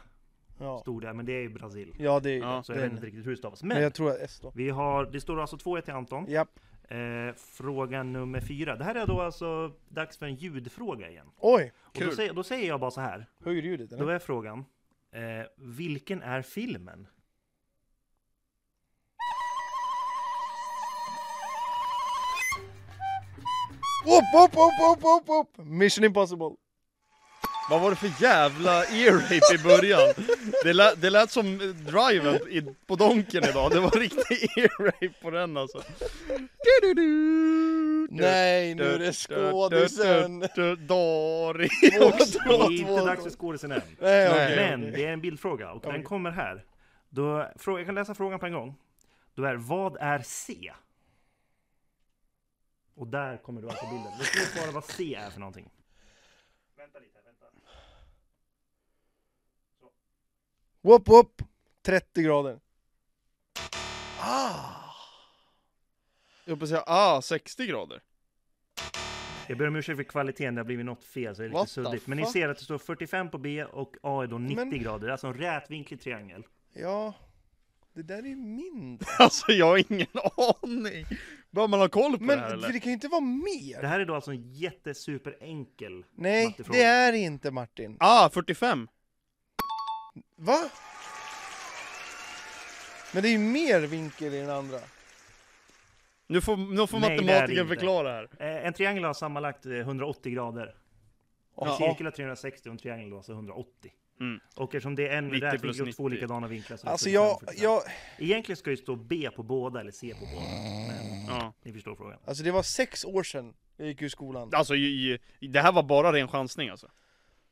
B: Ja,
D: Stod det, men det är ju Brasil.
B: ja det är
A: Ja,
D: Så jag vet
B: den.
D: inte riktigt hur det stavas.
B: Men
D: Men
B: jag tror att S då.
D: vi har, det står alltså 2-1 till Anton.
B: Japp.
D: Eh, fråga nummer fyra. Det här är då alltså dags för en ljudfråga igen.
B: Oj!
D: Och då,
A: Kul.
D: säger, då säger jag bara så här.
B: Höjer ljudet
D: Då
B: eller?
D: är frågan. Eh, vilken är filmen?
B: Upp, upp, upp, upp, upp, upp! Mission impossible!
A: Vad var det för jävla ear-rape i början? Det lät, det lät som eh, driven i, på donken idag, det var riktig ear-rape på den alltså. Du-du-du.
B: Nej, nu är det skådisen!
A: Du- du- du- Dari.
B: Två,
D: Det
B: två,
D: är inte dags
B: två.
D: för skådisen än.
B: Nej, okej,
D: Men
B: okej.
D: det är en bildfråga och den kommer här. Då, frå- jag kan läsa frågan på en gång. Då är vad är C? Och där kommer du alltså bilden. Du ska ju svara vad C är för någonting. Vänta lite, vänta.
B: Whoop, whoop! 30 grader.
A: Jag höll på att säga, ah, 60 grader.
D: Jag ber om ursäkt för kvaliteten, det har blivit något fel så det är
A: What
D: lite
A: the
D: suddigt. Men ni
A: fuck?
D: ser att det står 45 på B och A är då 90
B: Men-
D: grader. Alltså en rätvinklig triangel.
B: Ja, det där är ju mindre.
A: Alltså jag har ingen aning. Bör man ha koll på
B: Men
A: det här eller?
B: för det kan ju inte vara mer!
D: Det här är då alltså en jättesuperenkel
B: Nej,
D: mattefråga.
B: det är det inte Martin.
A: Ah, 45.
B: Va? Men det är ju mer vinkel i den andra.
A: Nu får, nu får
D: Nej, det är det
A: matematikern
D: inte.
A: förklara här.
D: Eh, En triangel har sammanlagt eh, 180 grader. En
B: Ja.
D: cirkel har 360 och en triangel har alltså 180.
A: Mm.
D: Och eftersom det är en
A: 90 plus
D: rätvinkel och två
A: 90.
D: likadana vinklar så är det
B: Alltså
D: 45,
B: jag,
D: 45.
B: jag...
D: Egentligen ska ju stå B på båda eller C på båda. Men
A: Ja.
D: ni förstår frågan.
B: Alltså det var sex år sedan jag gick ur skolan.
A: Alltså i, i, det här var bara ren chansning alltså.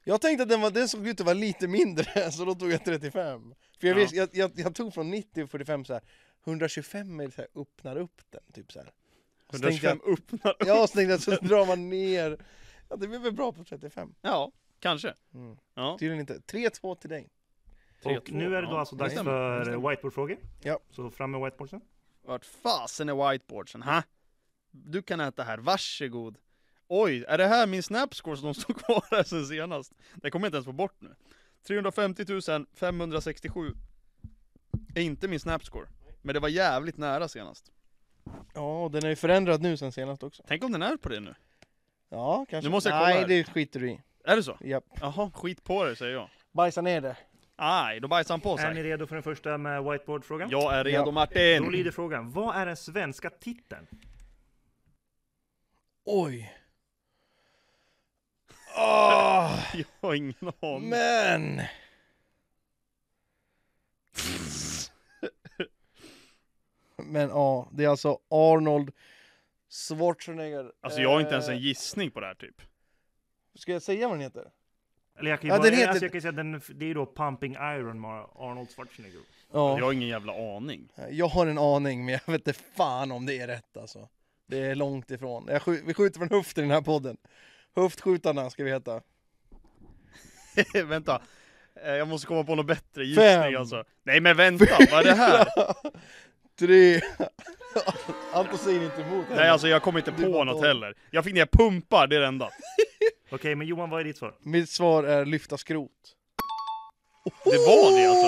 B: Jag tänkte att den, var, den såg ut att vara lite mindre, så då tog jag 35. För jag,
A: Ja.
B: visste, jag, jag, jag tog från 90 till 45 så här. 125 är så här, öppnar upp den, typ så här. Så tänkte
A: 125
B: jag,
A: öppnar
B: ja, så tänkte jag så drar man ner. Ja, det blir väl bra på 35.
A: Ja, kanske.
B: Mm.
A: Ja.
B: Tydligen inte. 3-2 till dig.
A: Tre,
D: och
A: två,
D: nu är det då
A: ja.
D: alltså dags
B: stämmer, det
D: för
B: stämmer.
D: whiteboardfrågor.
B: Ja.
D: Så fram med whiteboardsen.
A: Vart fasen är whiteboardsen? Ha? Du kan äta här, varsågod. Oj, är det här min snapscore som stod kvar här sen senast? Det kommer jag inte ens få bort nu. 350 567 är inte min snapscore. Men det var jävligt nära senast.
B: Ja, och den är ju förändrad nu sen senast också.
A: Tänk om den är på det nu?
B: Ja, kanske.
A: Nu måste jag kolla
B: Nej,
A: här.
B: det skiter du i.
A: Är det så?
B: Japp.
A: Jaha, skit på det säger jag.
B: Bajsa ner det.
A: Aj, då bajsar han på
D: Är ni
A: sig.
D: redo för den första med whiteboardfrågan?
A: Jag är redo
B: Ja.
D: Då
A: Martin!
D: lyder frågan, vad är den svenska titeln?
B: Oj. Ah,
A: Jag har ingen aning.
B: men. Men ja, det är alltså Arnold Schwarzenegger.
A: Alltså jag har inte ens en
B: Eh,
A: gissning på det här typ.
B: Ska jag säga vad den heter?
D: Eller jag kan ju
B: Ja,
D: bara,
B: den heter-
D: alltså jag kan ju säga att den, det är ju då Pumping Iron med Arnold Schwarzenegger.
B: Ja.
A: Jag har ingen jävla aning.
B: Jag har en aning, men jag vet inte fan om det är rätt alltså. Det är långt ifrån. Jag skj- vi skjuter från höften i den här podden. Höftskjutarna ska vi heta.
A: vänta. Eh, Jag måste komma på något bättre
B: Fem.
A: gissning alltså. Nej men vänta, vad är det här?
B: Tre. Anton säger inte emot.
A: Nej alltså jag kommer inte
B: Du var
A: på något
B: dålig.
A: heller. Jag fick ner pumpar, det är det enda.
D: Okej, men Johan, vad är ditt svar?
B: Mitt svar är lyfta skrot.
A: Det var det alltså.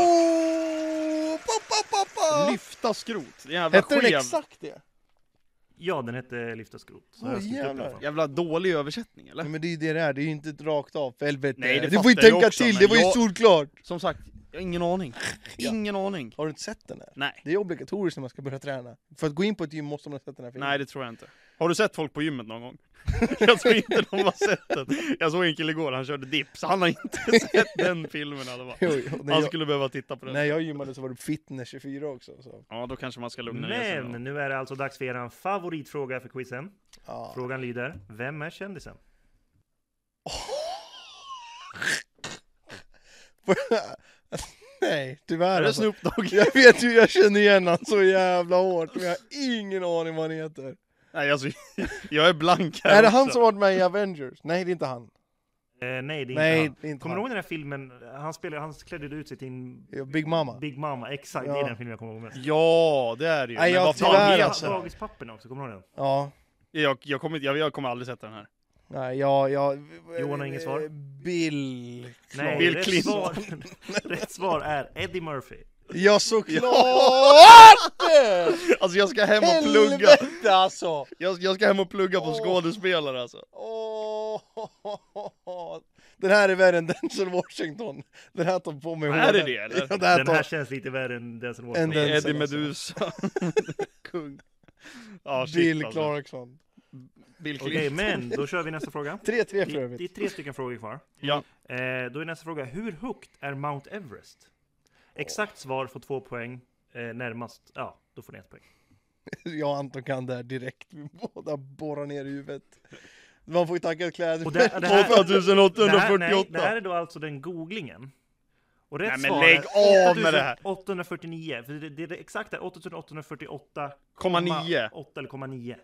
B: Oh, pappa, pappa.
A: Lyfta skrot. Det är en jävla
B: Hette den
A: skev,
B: exakt det?
D: Ja, den hette Lyfta skrot. Så
B: Åh,
D: har jag skrivit upp den
B: jävlar.
D: för.
A: jävla dålig översättning eller?
B: Nej, men det är ju det det är, det är ju inte ett rakt av för helvete.
A: Nej, det
B: du får
A: fattar
B: ju
A: jag
B: tänka
A: också,
B: till,
A: men
B: det var ju
A: jag-
B: solklart!
A: Som sagt, Jag har ingen aning. Ingen aning.
B: Har du inte sett den här?
A: Nej.
B: Det är obligatoriskt när man ska börja träna. För att gå in på ett gym måste man ha sett den här filmen.
A: Nej, det tror jag inte. Har du sett folk på gymmet någon gång? Jag tror inte de har sett den. Jag såg en kille igår, han körde dips. Han har inte sett den filmen i alla fall.
B: Jo, jo, när,
A: Han
B: jag,
A: skulle behöva titta på den.
B: när jag gymmade så var det fitness 24 också. Så.
A: Ja, då kanske man ska lugna ner sig. då.
D: Men nu är det alltså dags för er favoritfråga för quizen.
B: Ja.
D: Frågan lyder, vem är kändisen?
B: Nej, tyvärr
A: Är det
B: alltså.
A: Snoop Dogg?
B: Jag vet ju, jag känner igen han så jävla hårt men jag har ingen aning vad han heter.
A: Nej, alltså, jag är blank här
B: Är det han
A: också.
B: som varit med i Avengers? Nej, det är inte han.
D: Eh, nej, det är
B: Nej,
D: inte
B: det är
D: han.
B: inte
D: Kommer
B: han.
D: du ihåg den här filmen? Han, spelade, han klädde ut sig till en
B: Big Mama.
D: Big Mama. Exakt, det
B: Ja.
D: är den filmen jag kommer ihåg mest.
A: Ja, det är det ju.
B: Nej,
A: Men
B: jag
A: vad fan
B: tyvärr,
A: heter
D: Ja,
A: han?
B: alltså.
D: Dagispapporna också, kommer du ihåg den?
B: Ja.
A: Jag, jag, kommer, inte- jag, jag kommer aldrig sätta den här.
B: Nej, jag... jag
D: Johan har inget svar?
B: Bill...
D: Nej,
A: Bill
D: rätt,
A: Clinton.
D: svar, rätt svar är Eddie Murphy.
B: Ja, såklart!
A: Alltså jag ska hem och plugga.
B: Helvete alltså!
A: Jag, jag ska hem och plugga på
B: Åh.
A: skådespelare alltså.
B: Åh, Den här är värre än Denzel Washington. Den här tar på mig
A: Är
B: hårdare.
A: det det, eller?
B: Ja, den här
D: Den
B: tar...
D: här känns lite värre än den som
B: Än den-
D: var
A: Eddie
B: Denzel, alltså.
A: Meduza. Kung. Ja, shit,
B: Bill
A: alltså.
B: Clarkson.
A: Bill Clinton.
D: Okej, men då kör vi nästa fråga.
B: 3-3 för
D: Det,
B: övrigt.
D: det är tre stycken frågor kvar.
A: Ja.
D: Eh, då är nästa fråga, hur högt är Mount Everest? Exakt svar får två poäng. Eh, närmast, ja, då får ni ett poäng.
B: Jag och Anton kan det här direkt. Vi båda borrar ner i huvudet. Man får ju tacka kläder
D: Och
B: för
D: det- det här-
A: 2848.
D: Det här, nej, det här är då alltså den googlingen. Och rätt
A: Nej, men
D: svar
A: lägg
D: är
A: av med det här.
D: 849, för det, det, är det exakta är 8848,9.
A: Komma nio.
D: 8 eller komma 9.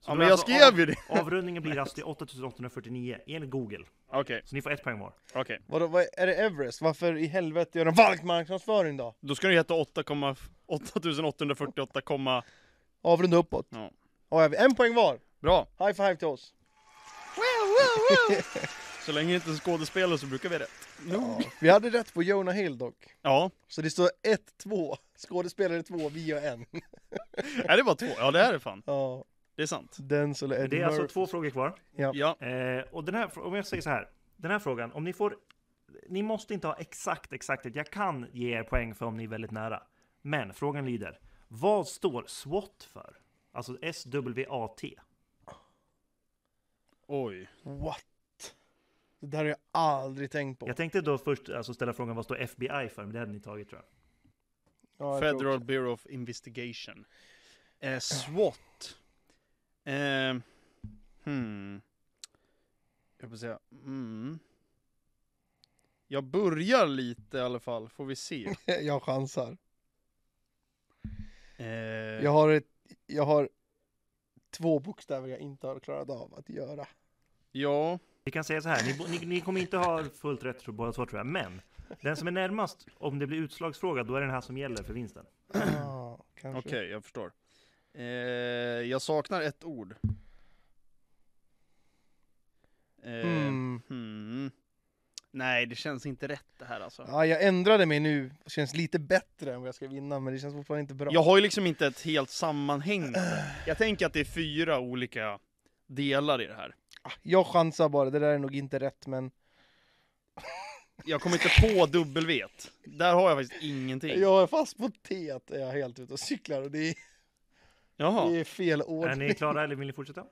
D: Så
A: Ja,
D: då
A: men
D: är
A: jag skrev
D: av,
A: ju det. alltså
D: Avrundningen blir alltså till 8849 enligt Google.
A: Okej,
D: Så ni får ett poäng var.
A: okej.
B: Vadå, vad, är det Everest? Varför i helvete gör de falsk marknadsföring då?
A: Då ska det heta 8,- 8848, komma-
B: Avrunda uppåt.
A: Ja.
B: Ja, jag- en poäng var.
A: bra.
B: High five till oss.
A: Så länge det inte är skådespelare så brukar vi ha rätt.
B: Ja. Vi hade rätt på Jonah Hill dock.
A: Ja,
B: Så det står 1-2. Skådespelare 2, vi och en.
A: är det bara två? Ja, det är det fan.
B: Ja,
A: Det är sant.
B: Denzel och Eddie
D: Det är alltså
B: Murphy.
D: två frågor kvar.
A: Ja,
D: Eh, och den här, om jag säger så här. Den här frågan, om ni får... Ni måste inte ha exakt exakthet. Jag kan ge er poäng för om ni är väldigt nära. Men frågan lyder. Vad står SWAT för? Alltså S-W-A-T.
A: oj.
B: What? Det där har jag aldrig tänkt på.
D: Jag tänkte då först alltså, ställa frågan vad står FBI för? Men det hade ni tagit tror jag.
B: Ja, jag tror
A: Federal
B: också.
A: Bureau of Investigation. Eh, SWAT. Eh, hmm. Jag får säga, mm. Jag börjar lite i alla fall, får vi se.
B: jag chansar.
A: Eh,
B: Jag har, ett, jag har två bokstäver jag inte har klarat av att göra.
A: Ja,
D: Vi kan säga så här, ni, bo- ni, ni kommer inte ha fullt rätt tror- båda två tror jag. Men den som är närmast, om det blir utslagsfråga, då är det den här som gäller för vinsten.
B: Ah, kanske.
A: okej, jag förstår. Eh, jag saknar ett ord. Eh,
B: Mm.
A: hmm. Nej, det känns inte rätt det här alltså.
B: Ja, jag ändrade mig nu. Det känns lite bättre än vad jag ska vinna, men det känns fortfarande inte bra.
A: Jag har ju liksom inte ett helt sammanhängande. Jag tänker att det är fyra olika delar i det här.
B: Jag chansar bara. Det där är nog inte rätt, men...
A: Jag kommer inte på W. Där har jag faktiskt ingenting.
B: Jag är fast på T. att Jag är helt ute och cyklar och det är, det
A: Jaha,
B: är fel
D: Är
B: ordning.
D: ni klara eller vill ni fortsätta?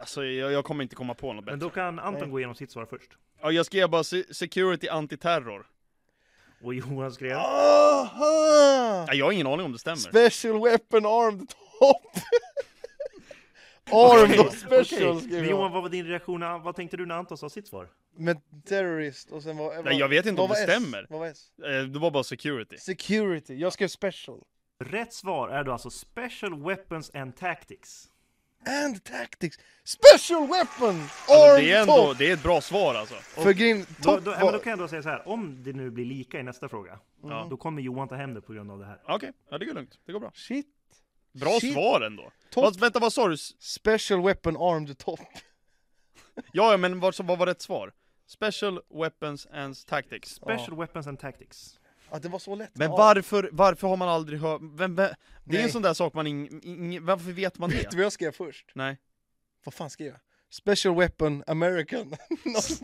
A: alltså jag, jag kommer inte komma på något
D: Men
A: bättre.
D: då kan Anton
B: Nej.
D: gå igenom sitt svar först.
A: Ja, jag skrev bara se- security antiterror.
D: Och Johan skrev...
B: Aha!
A: Ja, jag har ingen aning om det stämmer.
B: Special weapon armed top! armed och special
D: Okej,
B: skrev
D: Men Johan,
B: jag.
D: vad var din reaktion? när- Vad tänkte du när Anton sa sitt svar?
B: Med terrorist och sen var... vad-
A: jag vet inte
B: vad
A: om det
B: var S?
A: stämmer.
B: Vad var S?
A: Eh, Det var bara security.
B: Security. Jag skrev special.
D: Rätt svar är då alltså Special Weapons and Tactics.
B: And tactics. Special weapon!
A: Alltså,
B: armed
A: det, är ändå,
B: top!
A: det är ett bra svar alltså.
B: För grejen,
D: Då,
B: top
D: då, ja, men då kan jag då säga så här, om det nu blir lika i nästa fråga, då kommer Johan ta hem det på grund av det här.
A: Mm. Ja, Okej, ja, det går lugnt. Det går bra.
B: Shit.
A: Bra
B: Shit.
A: svar ändå.
B: Topp.
A: Vad, vänta, vad sa du? S-
B: Special weapon armed top.
A: Ja, ja, men vad, vad var rätt svar? Special weapons and tactics.
D: Special Weapons and Tactics.
B: Ja, det var så lätt.
A: Men
B: Ja.
A: varför, varför har man aldrig hört, vem, vem, det är en
B: Nej.
A: sån där sak man ing, ing, varför vet man
B: Vet du
A: det?
B: vad jag skrev först?
A: Nej.
B: Vad fan skrev jag? Special weapon American. Något-
A: Spe-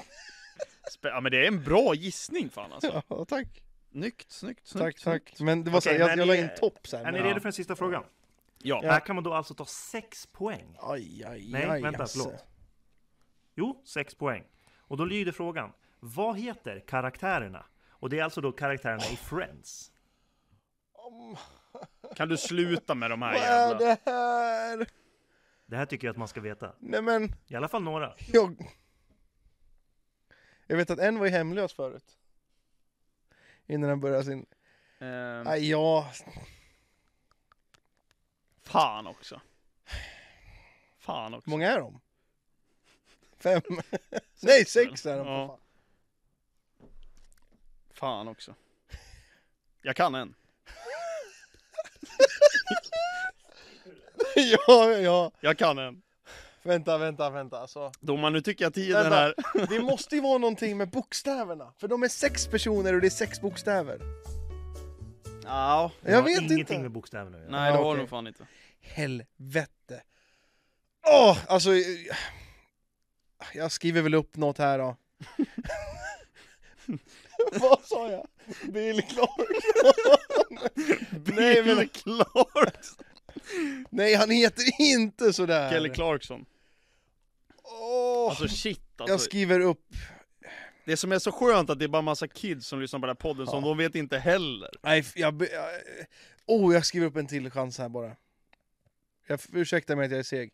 A: Ja men det är en bra gissning fan alltså.
B: ja, tack.
A: Snyggt, snyggt, snyggt.
B: Tack,
A: snyggt.
B: tack. Men det var så här,
D: Okej,
B: jag,
D: men
B: jag
D: är
B: la
D: ni-
B: in topp sen.
D: Är ni
B: men-
D: redo för den sista frågan?
A: Ja.
D: Här kan man då alltså ta 6 poäng.
B: Aj, aj,
D: Nej,
B: aj.
D: vänta,
B: alltså.
D: förlåt. Jo, 6 poäng. Och då lyder frågan, vad heter karaktärerna? Och det är alltså då karaktärerna i Friends.
A: Kan du sluta med de här
B: Vad är
A: jävla...
B: det här?
D: Det här tycker jag att man ska veta.
B: Nej men,
D: I alla fall några.
B: jag... Jag vet att en var ju hemlös förut. Innan han började sin...
D: Mm.
A: Ehm,
B: Aj, ja.
A: fan också. Fan också.
B: Hur många är de? Fem? Nej, sex är de.
A: Ja.
B: Ja.
A: Fan också. Jag kan en.
B: ja, ja.
A: Jag kan en.
B: Vänta, vänta, vänta. Alltså.
A: Domaren, nu tycker jag tiden
B: Vänta.
A: är...
B: Det måste ju vara någonting med bokstäverna. För de är sex personer och det är sex bokstäver.
A: Ja.
D: Det
B: Jag
D: har
B: vet
D: ingenting
B: inte.
D: med bokstäver nu.
A: Nej, det
B: Ja,
A: var
B: okej.
A: nog fan inte.
B: Helvete. Åh, alltså. eh, Jag skriver väl upp något här då. Vad sa jag? Bill Clarkson. Nej, men-
A: Bill Clarkson.
B: Nej, han heter inte sådär.
A: Kelly Clarkson.
B: Åh,
A: Alltså shit
B: jag
A: alltså.
B: skriver upp.
A: Det som är så skönt att det är bara massa kids som lyssnar på den här podden som de vet inte heller.
B: Nej, f- jag... be- jag- Åh, jag skriver upp en till chans här bara. Jag f- ursäktar mig att jag är seg.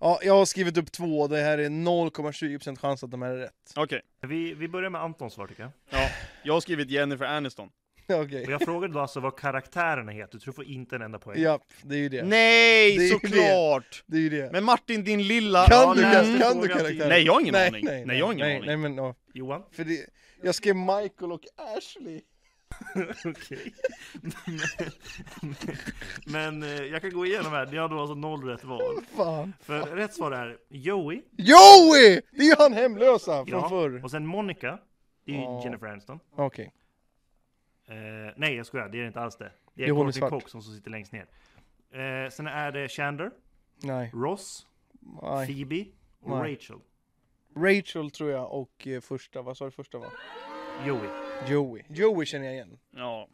B: Ja, jag har skrivit upp två. Det här är 0,20% chans att de här är rätt.
A: Okej,
D: Vi, vi börjar med Antons svar tycker jag.
A: ja. Jag har skrivit Jennifer Aniston.
B: Okej.
D: Och jag frågade då alltså vad karaktärerna heter, så du får inte en enda poäng.
B: Ja, det är ju det. Det är
A: Nej,
B: ju
A: såklart!
B: Det är ju det.
A: Men Martin, din lilla...
B: Kan
A: Ja,
B: du,
A: nej.
B: kan,
D: läs
B: kan
D: frågan
B: du
D: till-
B: karaktären?
A: Nej, jag har ingen aning. Nej, jag har ingen
B: nej,
A: aning.
B: Nej, men, ja.
D: Johan?
B: för det, jag skrev Michael och Ashley.
D: Okej. Men- Men eh, jag kan gå igenom här, ni hade alltså noll rätt val.
B: Fan.
D: För rätt svar är Joey,
B: Joey! Det är ju han hemlösa från
D: ja,
B: förr.
D: och sen Monica, det är ju
B: Ja.
D: Jennifer Aniston.
B: Okej.
D: Eh, nej, jag skojar. Det är det inte alls det. Det
B: Det är
D: är
B: hon i
D: Courtney
B: svart.
D: Cox som sitter längst ner. Eh, sen är det Chandler,
B: Nej.
D: Ross,
B: nej.
D: Phoebe och
B: Nej.
D: Rachel.
B: Rachel tror jag och eh, första, vad sa du första var?
D: Joey.
B: Joey. Joey känner jag igen.
A: Ja.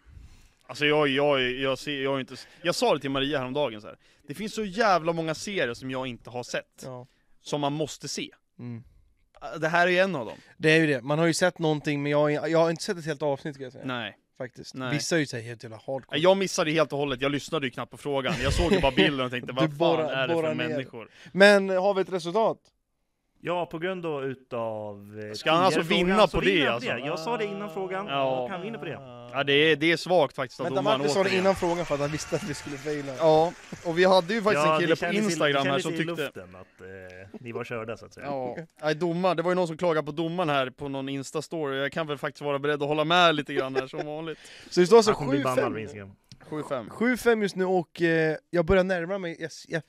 A: Alltså jag, jag, jag, ser, jag, har inte, jag sa det till Maria häromdagen så här. Det finns så jävla många serier som jag inte har sett,
B: Ja.
A: som man måste se.
B: Mm.
A: Äh, Det här är en av dem.
B: Det är ju det. Man har ju sett någonting men jag, har- jag har inte sett ett helt avsnitt kan jag säga.
A: Nej.
B: Faktiskt.
A: Nej.
B: Vissa är ju såhär helt jävla hardcore.
A: Äh, Jag missade helt och hållet, jag lyssnade ju knappt på frågan. Jag såg ju bara bilden och tänkte
B: Du
A: vad fan
B: borrar-
A: är det för
B: borrar ner.
A: människor?
B: Men eh, har vi ett resultat?
D: Ja, på grund då utav... eh,
A: Ska han alltså
D: tidigare
A: vinna
D: frågan, så
A: på det,
D: vinner han
A: alltså?
D: Jag sa det innan frågan,
A: Ja.
D: och han vinner på det.
A: Ja det är, det är svagt faktiskt att
B: Vänta,
A: domaren
B: Martin sa det
A: återigen-
B: innan frågan för att han visste att vi skulle faila.
A: Ja, och vi hade ju faktiskt
D: Ja,
A: en
D: det
A: kille på
D: kändes i-
A: Instagram
D: det
A: här
D: kändes
A: som
D: i
A: tyckte...
D: luften att eh, ni var körda så att säga.
A: Ja, nej domar, det var ju någon som klagade på domaren här på någon Insta-story Jag kan väl faktiskt vara beredd att hålla med lite grann här som vanligt
B: Så det står alltså
D: Han kommer bli bannad
B: 7-5.
D: på Instagram.
A: 7-5
B: 7-5 just nu och eh, jag börjar närma mig... Jag, jag,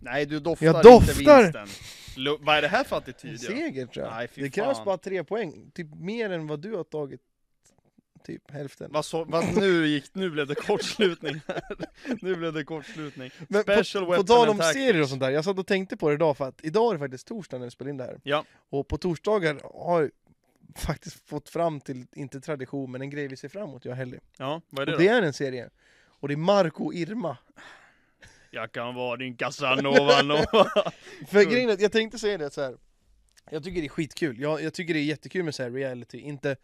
A: Nej du doftar,
B: Jag doftar!
A: inte vinsten Lu- Vad är det här för attityd? Ja?
B: seger tror jag.
A: Nej, fy
B: det krävs
A: fan.
B: bara tre poäng. Typ mer än vad du har tagit. Typ hälften.
A: Vad så, vad nu gick, nu blev det kortslutning här Nu blev det kortslutning
B: Men på,
A: Special
B: på
A: weapon
B: tal om
A: and tactics.
B: serier och sånt där. Jag satt och tänkte på det idag för att idag är det faktiskt torsdag när vi spelar in det här.
A: Ja.
B: Och på torsdagar har jag faktiskt fått fram till, inte tradition, men en grej vi ser fram emot, jag och Helly.
A: Ja, vad är det,
B: Och det
A: då?
B: är en serie. Och det är Marco och Irma.
A: Jag kan vara din Casanova Nova
B: För
A: Mm.
B: grejen är, att jag tänkte säga det så här. Jag tycker det är skitkul. Jag, jag tycker det är jättekul med så här reality. Inte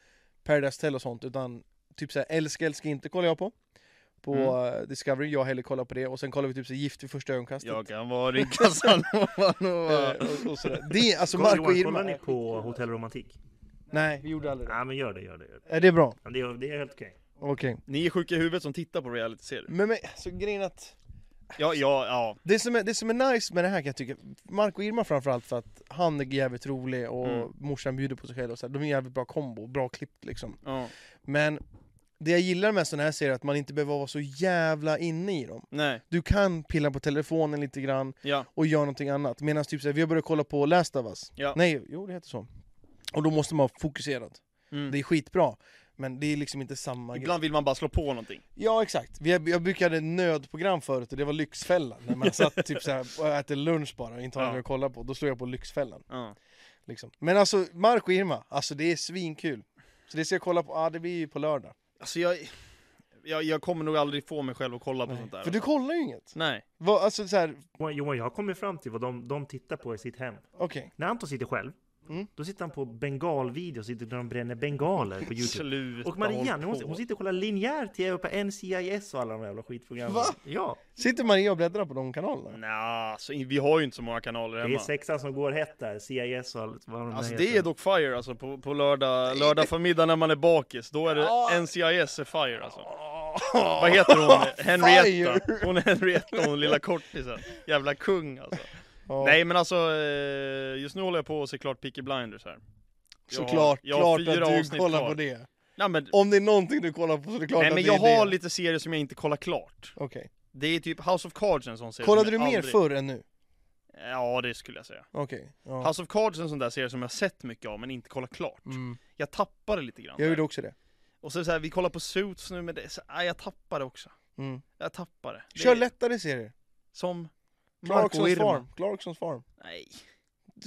B: Paradise Tell och sånt utan typ så här Älska älska inte kollar jag på. På
A: Mm.
B: eh, Discovery. Jag heller kollar på det. Och sen kollar vi typ så här, Gift vid första ögonkastet.
A: Jag kan vara din Casanova Nova
B: Eh, och, och så där. Det är alltså
D: Kolla,
B: Marco och
D: Johan,
B: Irma.
D: kollar ni på Hotell Romantik?
B: Nej, vi gjorde aldrig det.
D: Nej, men gör det, gör det. Gör det.
B: Är det bra?
D: Ja, det, är- det är helt okej.
B: Okej.
A: Ni är sjuka i huvudet som tittar på realityserier
B: Men, men så grejen är att
A: Ja, ja, ja
B: det som, är, det som är nice med det här kan jag tycka, Marco och Irma framförallt för att han är jävligt rolig och
A: Mm.
B: morsan bjuder på sig själv och så här. De är jävligt bra kombo, bra klippt liksom.
A: Ja,
B: Men det jag gillar med sådana här serier är att man inte behöver vara så jävla inne i dem.
A: nej,
B: Du kan pilla på telefonen lite grann
A: ja,
B: och göra någonting annat. Medan typ såhär, vi har börjat kolla på Last of Us.
A: Ja.
B: Nej, jo det heter så. Och då måste man vara fokuserad.
A: Mm.
B: Det är skitbra. Men det är liksom inte samma grej.
A: ibland vill man bara slå på någonting
B: Ja exakt. Vi, jag brukade nödprogram förut och det var Lyxfällan. När man satt typ såhär och äter lunch bara och inte har
A: Ja.
B: något att kolla på. Då slår jag på Lyxfällan.
A: Ja.
B: Liksom. Men alltså Mark och Irma, alltså det är svinkul. Så det ska jag kolla på, ja det blir ju på lördag.
A: Alltså jag, jag, jag kommer nog aldrig få mig själv att kolla på sånt där.
B: För du kollar ju inget.
A: Nej.
B: Vad, alltså så här,
D: Johan, Johan, jag har kommit fram till vad de, de tittar på i sitt hem.
B: okej.
D: När Anton sitter själv,
B: Mm.
D: då sitter han på bengalvideos, sitter när de bränner bengaler på Youtube.
A: Sluta
D: Och Maria,
A: håll
D: nu hon,
A: på.
D: hon sitter och kollar linjär tv på NCIS och alla de jävla skitprogrammen.
B: Va?
D: Ja,
B: Sitter Maria och bläddrar på de kanalerna?
A: Nja, alltså, vi har ju inte så många kanaler
D: det är
A: hemma.
D: sexan som går hett där, CIS och allt vad de
A: Alltså
D: där
A: det är dock fire alltså, på, på lördag, lördag förmiddag när man är bakis, då är det NCIS är fire alltså. Vad heter hon? Henrietta.
B: Fire.
A: Hon är Henrietta, hon lilla kortisen. Jävla kung alltså.
B: Ja.
A: Nej men alltså, eh, just nu håller jag på att se klart Peaky Blinders här. Jag har-
B: Såklart,
A: jag har
B: klart
A: fyra
B: att du
A: avsnitt
B: kollar
A: kvar.
B: på det.
A: Nej men,
B: Om det är någonting du kollar på så är det klart
A: nej,
B: att
A: men
B: det
A: jag
B: är
A: har
B: det.
A: lite serier som jag inte kollar klart.
B: Okej.
A: Det är typ House of Cards en sån serie
B: Kollade
A: som
B: du
A: jag
B: mer
A: aldrig...
B: förr än nu?
A: Ja det skulle jag säga.
B: Okej. Ja.
A: House of Cards är en sån där serie som jag sett mycket av men inte kollat klart.
B: Mm.
A: Jag tappade lite grann.
B: Jag
A: där.
B: gjorde också det.
A: Och så, är det så här, vi kollar på Suits nu men det, är så, nej, jag tappade också.
B: Mm.
A: Jag tappade. Det
B: Kör
A: är
B: lättare serier.
A: Som Marco
B: Clarksons
A: Irma.
B: farm. Clarksons farm.
A: Nej.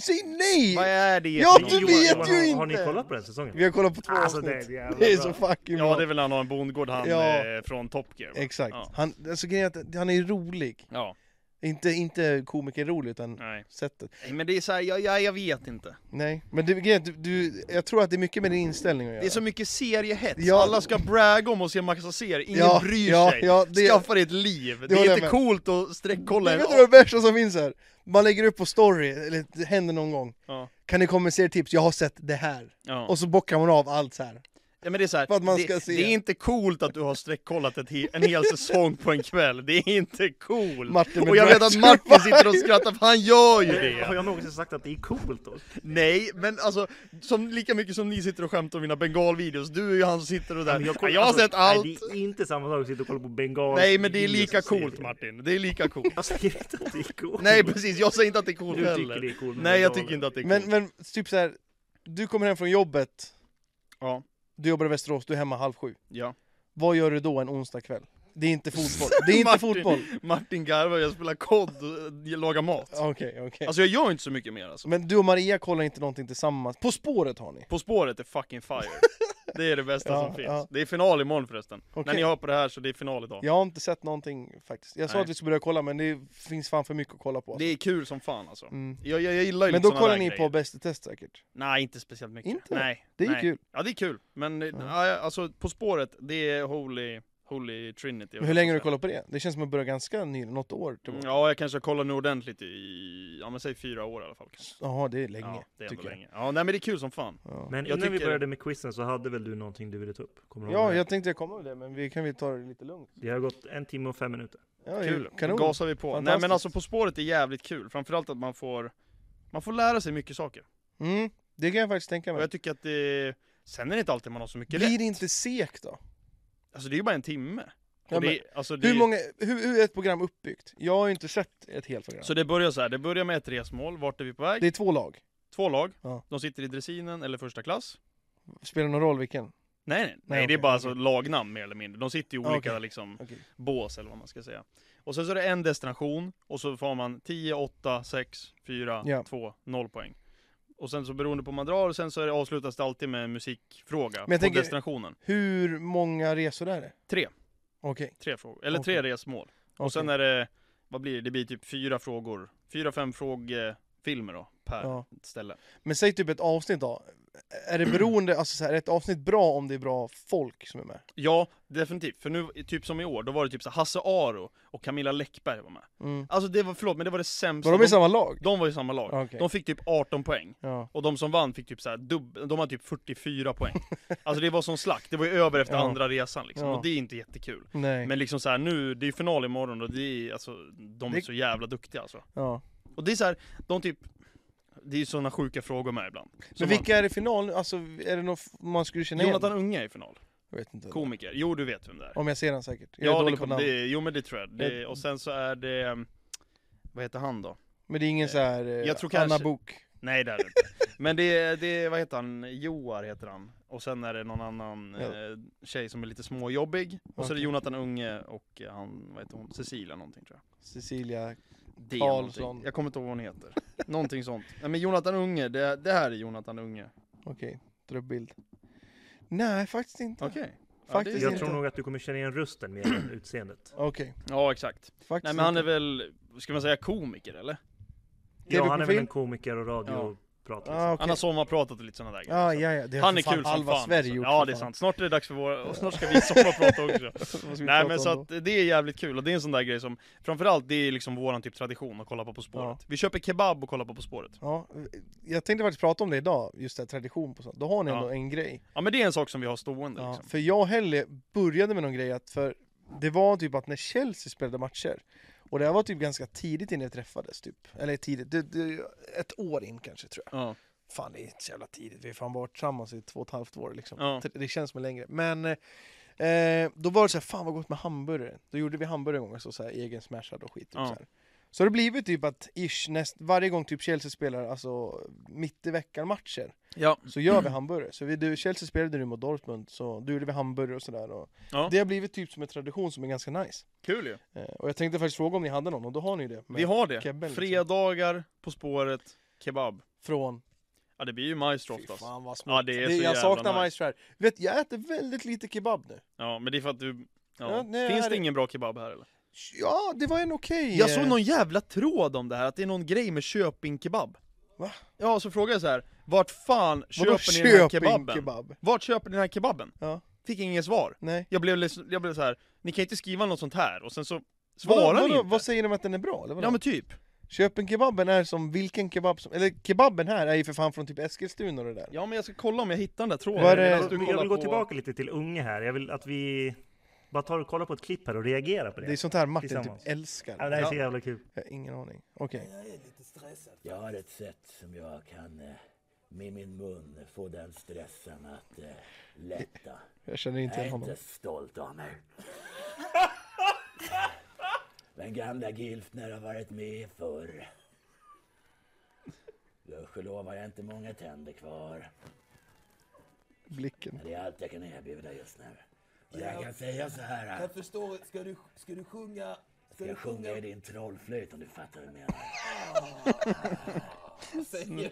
B: Säg nej!
A: Vad är det
B: Ja,
A: för
D: heter.
B: du
A: något?
D: Johan,
B: vet
D: Johan,
B: ju
D: har,
B: inte!
D: Har ni kollat på den säsongen?
B: Vi har kollat på två
D: Alltså, det är
B: avsnitt.
D: jävla
B: Det är
D: bra.
B: så fucking
A: Ja
B: bra.
A: det är väl när han har en bondgård han
B: Ja.
A: eh, från Top Gear va?
B: Exakt.
A: Ja.
B: Han, alltså, grejen är att han är rolig.
A: Ja,
B: Inte, inte komikerrolig utan
A: nej.
B: sättet.
A: nej. Men det är så här, jag, jag, jag vet inte.
B: Nej, men det, grejen är att du, du, jag tror att det är mycket med din inställning att göra.
A: Det är så mycket seriehets.
B: Ja.
A: Alla ska bragga om och se massa serier. Ingen
B: Ja,
A: bryr
B: ja,
A: sig.
B: ja, det-
A: Skaffa dig ett liv. Det, är
B: håller jag
A: inte
B: med.
A: coolt att sträckkolla
B: Du
A: en
B: vet vad det värsta som finns här? Man lägger upp på story, eller det händer någon gång.
A: Ja.
B: Kan ni komma med serietips? Jag har sett det här.
A: Ja.
B: Och så bockar man av allt så här.
A: Ja, men det, är så här,
B: För att man
A: det,
B: ska se.
A: det är inte coolt att du har sträckkollat ett he en hel säsong på en kväll, det är inte coolt!
B: Martin med
A: och jag vet att
B: Dragster
A: Martin sitter och
B: Fire.
A: skrattar för han gör ju
D: Har
A: det!
D: jag någonsin sagt att det är coolt då?
A: Nej, men alltså, som, lika mycket som ni sitter och skämtar om mina bengalvideos, du är ju han som sitter och där
D: Men
A: jag,
D: kollar-
A: har
D: alltså,
A: sett allt!
D: Nej,
A: Nej,
D: det är inte samma sak att sitta och kolla på bengal.
A: men det är lika
D: videos och
A: coolt
D: serier.
A: Martin, det är lika coolt!
D: Jag säger inte att det är coolt.
A: Nej precis, jag säger inte att det är coolt
D: Du tycker
A: heller!
D: det är coolt med
A: Nej jag
D: bengaler.
A: tycker inte att det är coolt!
B: Men, men typ så här. du kommer hem från jobbet,
A: Ja,
B: du jobbar i Västerås, du är hemma halv sju.
A: ja.
B: Vad gör du då en onsdag kväll? Det är inte fotboll. Det är inte
A: Martin,
B: fotboll.
A: Martin garvar, jag spelar kod och jag lagar mat.
B: Okej, okej.
A: Alltså jag gör inte så mycket mer alltså.
B: Men du och Maria kollar inte någonting tillsammans. På spåret har ni.
A: På spåret är fucking fire. Det är det bästa
B: Ja,
A: som finns.
B: ja.
A: Det är final imorgon förresten. När
B: Okej.
A: ni hör på det här så det är final idag.
B: Jag har inte sett någonting faktiskt. Jag sa
A: Nej.
B: att vi skulle börja kolla men det finns fan för mycket att kolla på.
A: Det är kul som fan alltså.
B: Mm.
A: Jag, jag, jag gillar ju
B: Men
A: lite
B: då
A: såna
B: kollar
A: där
B: ni på
A: grejer.
B: Bäst i test säkert?
A: Nej, inte speciellt mycket.
B: Inte?
A: Nej.
B: Det är ju
A: nej.
B: kul.
A: Ja, det är kul. Men eh, ja. alltså På spåret, det är holy, holy trinity.
B: Men hur länge har du kollat på det? Det känns som att börja ganska nyligen, något år typ.
A: Mm,
B: tillbaka.
A: Ja, jag kanske kollar nu ordentligt i, ja men säg fyra år i alla fall kanske.
B: Jaha, det är länge.
A: ja, det är ändå
B: tycker
A: länge. Ja, nej men det är kul som fan.
B: Jag. Ja.
D: Men
A: Jag
D: innan vi
A: tycker-
D: började med quizen så hade väl du någonting du ville ta upp? Kommer du ihåg
B: ja,
D: det?
B: jag tänkte jag kommer med det, men vi kan väl ta det lite lugnt.
D: Det har gått en timme och fem minuter.
B: Ja, det är
A: Kul.
B: Kanon.
A: Då gasar vi på. Nej men
B: Fantastiskt.
A: alltså På spåret är jävligt kul. Framförallt att man får, man får lära sig mycket saker.
B: Mm, det kan jag faktiskt tänka
A: Och
B: mig.
A: jag tycker att det... Sen är det inte alltid man har så mycket
B: Blir
A: rätt.
B: det inte sekt då?
A: Alltså det är ju bara en timme. Och
B: Ja, men,
A: det, alltså, det,
B: hur, många, hur, hur är ett program uppbyggt? Jag har ju inte sett ett helt program.
A: Så det börjar så här. det börjar med ett resmål. Vart är vi på väg?
B: Det är två lag.
A: Två lag.
B: Ja.
A: De sitter i dressinen eller första klass.
B: Spelar någon roll vilken?
A: Nej, nej, nej,
B: okej,
A: det är bara
B: okej.
A: alltså, lagnamn mer eller mindre. De sitter i
B: Ja,
A: olika
B: okej.
A: liksom,
B: Okej.
A: bås eller vad man ska säga. Och sen så är det en destination och så får man 10, 8, 6, 4,
B: Ja.
A: 2, 0 poäng. Och sen så beroende på hur man drar, och sen så är det, avslutas det alltid med en musikfråga på
B: jag tänker-
A: destinationen.
B: Hur många resor är det?
A: Tre,
B: Okej.
A: tre frågor, eller
B: Okej.
A: tre resmål.
B: okej.
A: Och sen är det, vad blir det? Det blir typ fyra frågor, fyra fem frågefilmer då, per
B: Ja.
A: ställe.
B: Men säg typ ett avsnitt då. Är det beroende, alltså så här, är ett avsnitt bra om det är bra folk som är med?
A: Ja, definitivt. För nu, typ som i år, då var det typ så här, Hasse Aro och Camilla Läckberg var med.
B: Mm.
A: Alltså det var, förlåt, men det var det sämsta.
B: Var de i samma lag?
A: de var i samma lag.
B: Okej.
A: De fick typ 18 poäng.
B: Ja.
A: Och de som vann fick typ så här, dubb, de hade typ 44 poäng. Alltså det var som slakt, det var ju över efter
B: Ja.
A: andra resan liksom.
B: Ja.
A: Och det är inte jättekul.
B: Nej.
A: Men liksom så här, nu, det är ju final imorgon och det är, alltså, de är
B: Det-
A: så jävla duktiga alltså.
B: ja.
A: Och det är så här, de typ Det är ju sådana sjuka frågor med ibland Som
B: Men vilka är i final? Alltså, är det någon f- man skulle
A: man,
B: känna igen?
A: Jonathan Unge är i final,
B: Jag vet inte.
A: komiker, jo du vet vem det är
B: Om jag ser den säkert. Jag är
A: Ja det,
B: dålig på
A: kom,
B: namn.
A: det, jo men det tror jag, det, och sen så är det um, Vad heter han då?
B: Men det är ingen så här eh,
A: jag tror
B: Anna
A: kanske-
B: Bok.
A: Nej det är det inte Men det, är- det, är- vad heter han? Joar heter han Och sen är det någon annan
B: Ja.
A: eh, tjej som är lite småjobbig Och så är det
B: Okej.
A: Jonathan Unge och eh, han, vad heter hon? Cecilia någonting tror jag
B: Cecilia.
A: Det är
B: Karlsson.
A: någonting. Jag kommer inte ihåg vad hon heter Någonting sånt Nej men Jonathan Unge, det, det här är Jonathan Unge
B: Okej, dra upp bild. Nej, faktiskt inte.
A: Okej. Ja,
B: Faktiskt
A: det-
D: Jag
B: inte.
D: tror nog att du kommer känna igen rösten mer än utseendet.
B: Okej,
A: Ja, exakt.
B: faktiskt
A: Nej men han är
B: inte.
A: väl, ska man säga komiker eller?
D: Ja, han är väl
B: TV-profil?
D: en komiker och radiopratare.
B: Ah,
A: Han
B: okej.
A: har sommarpratat och lite sådana där
B: Ah, ja, ja. Det har
A: Han
B: för
A: är
B: fan
A: kul som
B: halva
A: fan.
B: Sverige
A: alltså.
B: gjort
A: ja,
B: för
A: det är
B: fan.
A: sant. Snart är det dags för våra, och snart ska vi sommarprata också.
B: Vad ska vi
A: Nej
B: prata
A: men
B: om
A: så
B: då?
A: att det är jävligt kul och det är en sån där grej som Framförallt det är liksom våran typ tradition att kolla på På spåret Vi köper kebab och kollar på På spåret
B: Ja, jag tänkte faktiskt prata om det idag, just det här tradition på sånt. Då har ni ändå
A: Ja.
B: en grej.
A: Ja men det är en sak som vi har stående
B: Ja,
A: liksom
B: för jag och Helle började med någon grej att för det var typ att när Chelsea spelade matcher och det här var typ ganska tidigt innan vi träffades typ. Eller tidigt, det, det, ett år in kanske tror jag.
A: Ja,
B: Fan det är inte så jävla tidigt, vi har fan varit tillsammans i två och ett halvt år liksom.
A: Ja.
B: Det känns som längre. Men eh, eh, då var det så här, fan vad gott med hamburgare. Då gjorde vi hamburgare en gång, så, så här, egen smashad och skit. Typ,
A: Ja.
B: så, här. så det blivit typ att ish, näst, varje gång typ Chelsea spelar, alltså mitt i veckan matcher
A: ja.
B: så gör vi hamburgare. Så vi, du, Chelsea spelade nu mot Dortmund, så då gjorde vi hamburgare och sådär. Och
A: Ja.
B: Det har blivit typ som en tradition som är ganska nice.
A: kul ju!
B: Eh, och jag tänkte faktiskt fråga om ni hade någon, och då har ni ju det. Men
A: Vi har det!
B: kebab, liksom.
A: Fredagar, På spåret, kebab
B: Från...
A: Ja det blir ju maestro
B: Fy
A: oftast
B: fan vad smått.
A: Ja, det är så
B: jag
A: jävla
B: saknar
A: nice.
B: majs här. Du vet, jag äter väldigt lite kebab nu.
A: Ja men det är för att du Ja.
B: Ja, nej,
A: Finns
B: här
A: det
B: är-
A: ingen bra kebab här eller?
B: Ja, det var en okej...
A: Jag såg
B: eh,
A: någon jävla tråd om det här, att det är någon grej med Köping kebab
B: Va?
A: Ja, så frågade jag så här. vart fan
B: vadå
A: köper ni den här
B: köping
A: kebaben?
B: kebab?
A: Vart köper ni den här kebaben?
B: Ja.
A: Fick inget svar
B: Nej.
A: Jag blev, liksom- jag blev så här. ni kan inte skriva något sånt här, och sen så svarar
B: vadå,
A: ni
B: vadå,
A: inte!
B: Vad säger de att den är bra? Eller vadå?
A: ja men typ!
B: Köping-kebaben är som vilken kebab som... Eller kebaben här är ju för fan från typ Eskilstuna och det där.
A: Ja men jag ska kolla om jag hittar den där tråden
B: Var det-
A: medan du
D: Jag,
A: kollar
D: vill gå
A: på-
D: tillbaka lite till Unge här. Jag vill att vi bara tar och kollar på ett klipp här och reagerar på det.
B: Det är sånt här Martin typ
D: Tillsammans.
B: älskar.
D: ja, det här är så jävla kul.
B: Jag har ingen aning. Okej.
G: Jag har ett sätt som jag kan eh, med min mun få den stressen att eh, lätta.
B: Jag känner inte
G: Jag
B: igen
G: är
B: honom.
G: inte stolt av mig. Den gamla Gylfner har varit med förr. Gudskelov har jag inte många tänder kvar.
B: Blicken.
G: Men det är allt jag kan erbjuda just nu. Och jag kan säga så här. Att
H: förstår, ska du, ska du sjunga... Ska
G: jag sjunger i din trollflöjt om du fattar vad jag menar.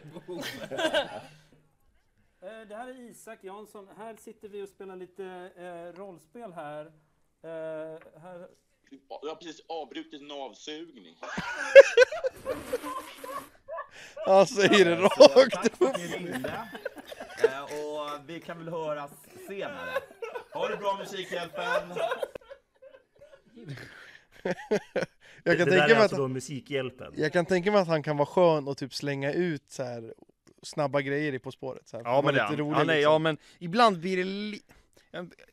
I: Eh, Det här är Isak Jansson. Här sitter vi och spelar lite eh, rollspel här. Eh, här.
J: Du har precis avbrutit en avsugning.
B: Han säger det rakt
A: alltså,
B: upp.
H: Tack för att ni ringde. Eh, Och vi kan väl höras senare. Ha det bra Musikhjälpen!
B: Jag
D: Det
B: kan,
D: där
B: tänka
D: är
B: mig att,
D: alltså då Musikhjälpen.
B: jag kan tänka mig att han kan vara skön och typ slänga ut så här snabba grejer i På spåret. Så här.
A: Ja men det
B: Vara
A: är
B: lite
A: han.
B: rolig,
A: Han är-
B: liksom.
A: Ja men ibland blir det li...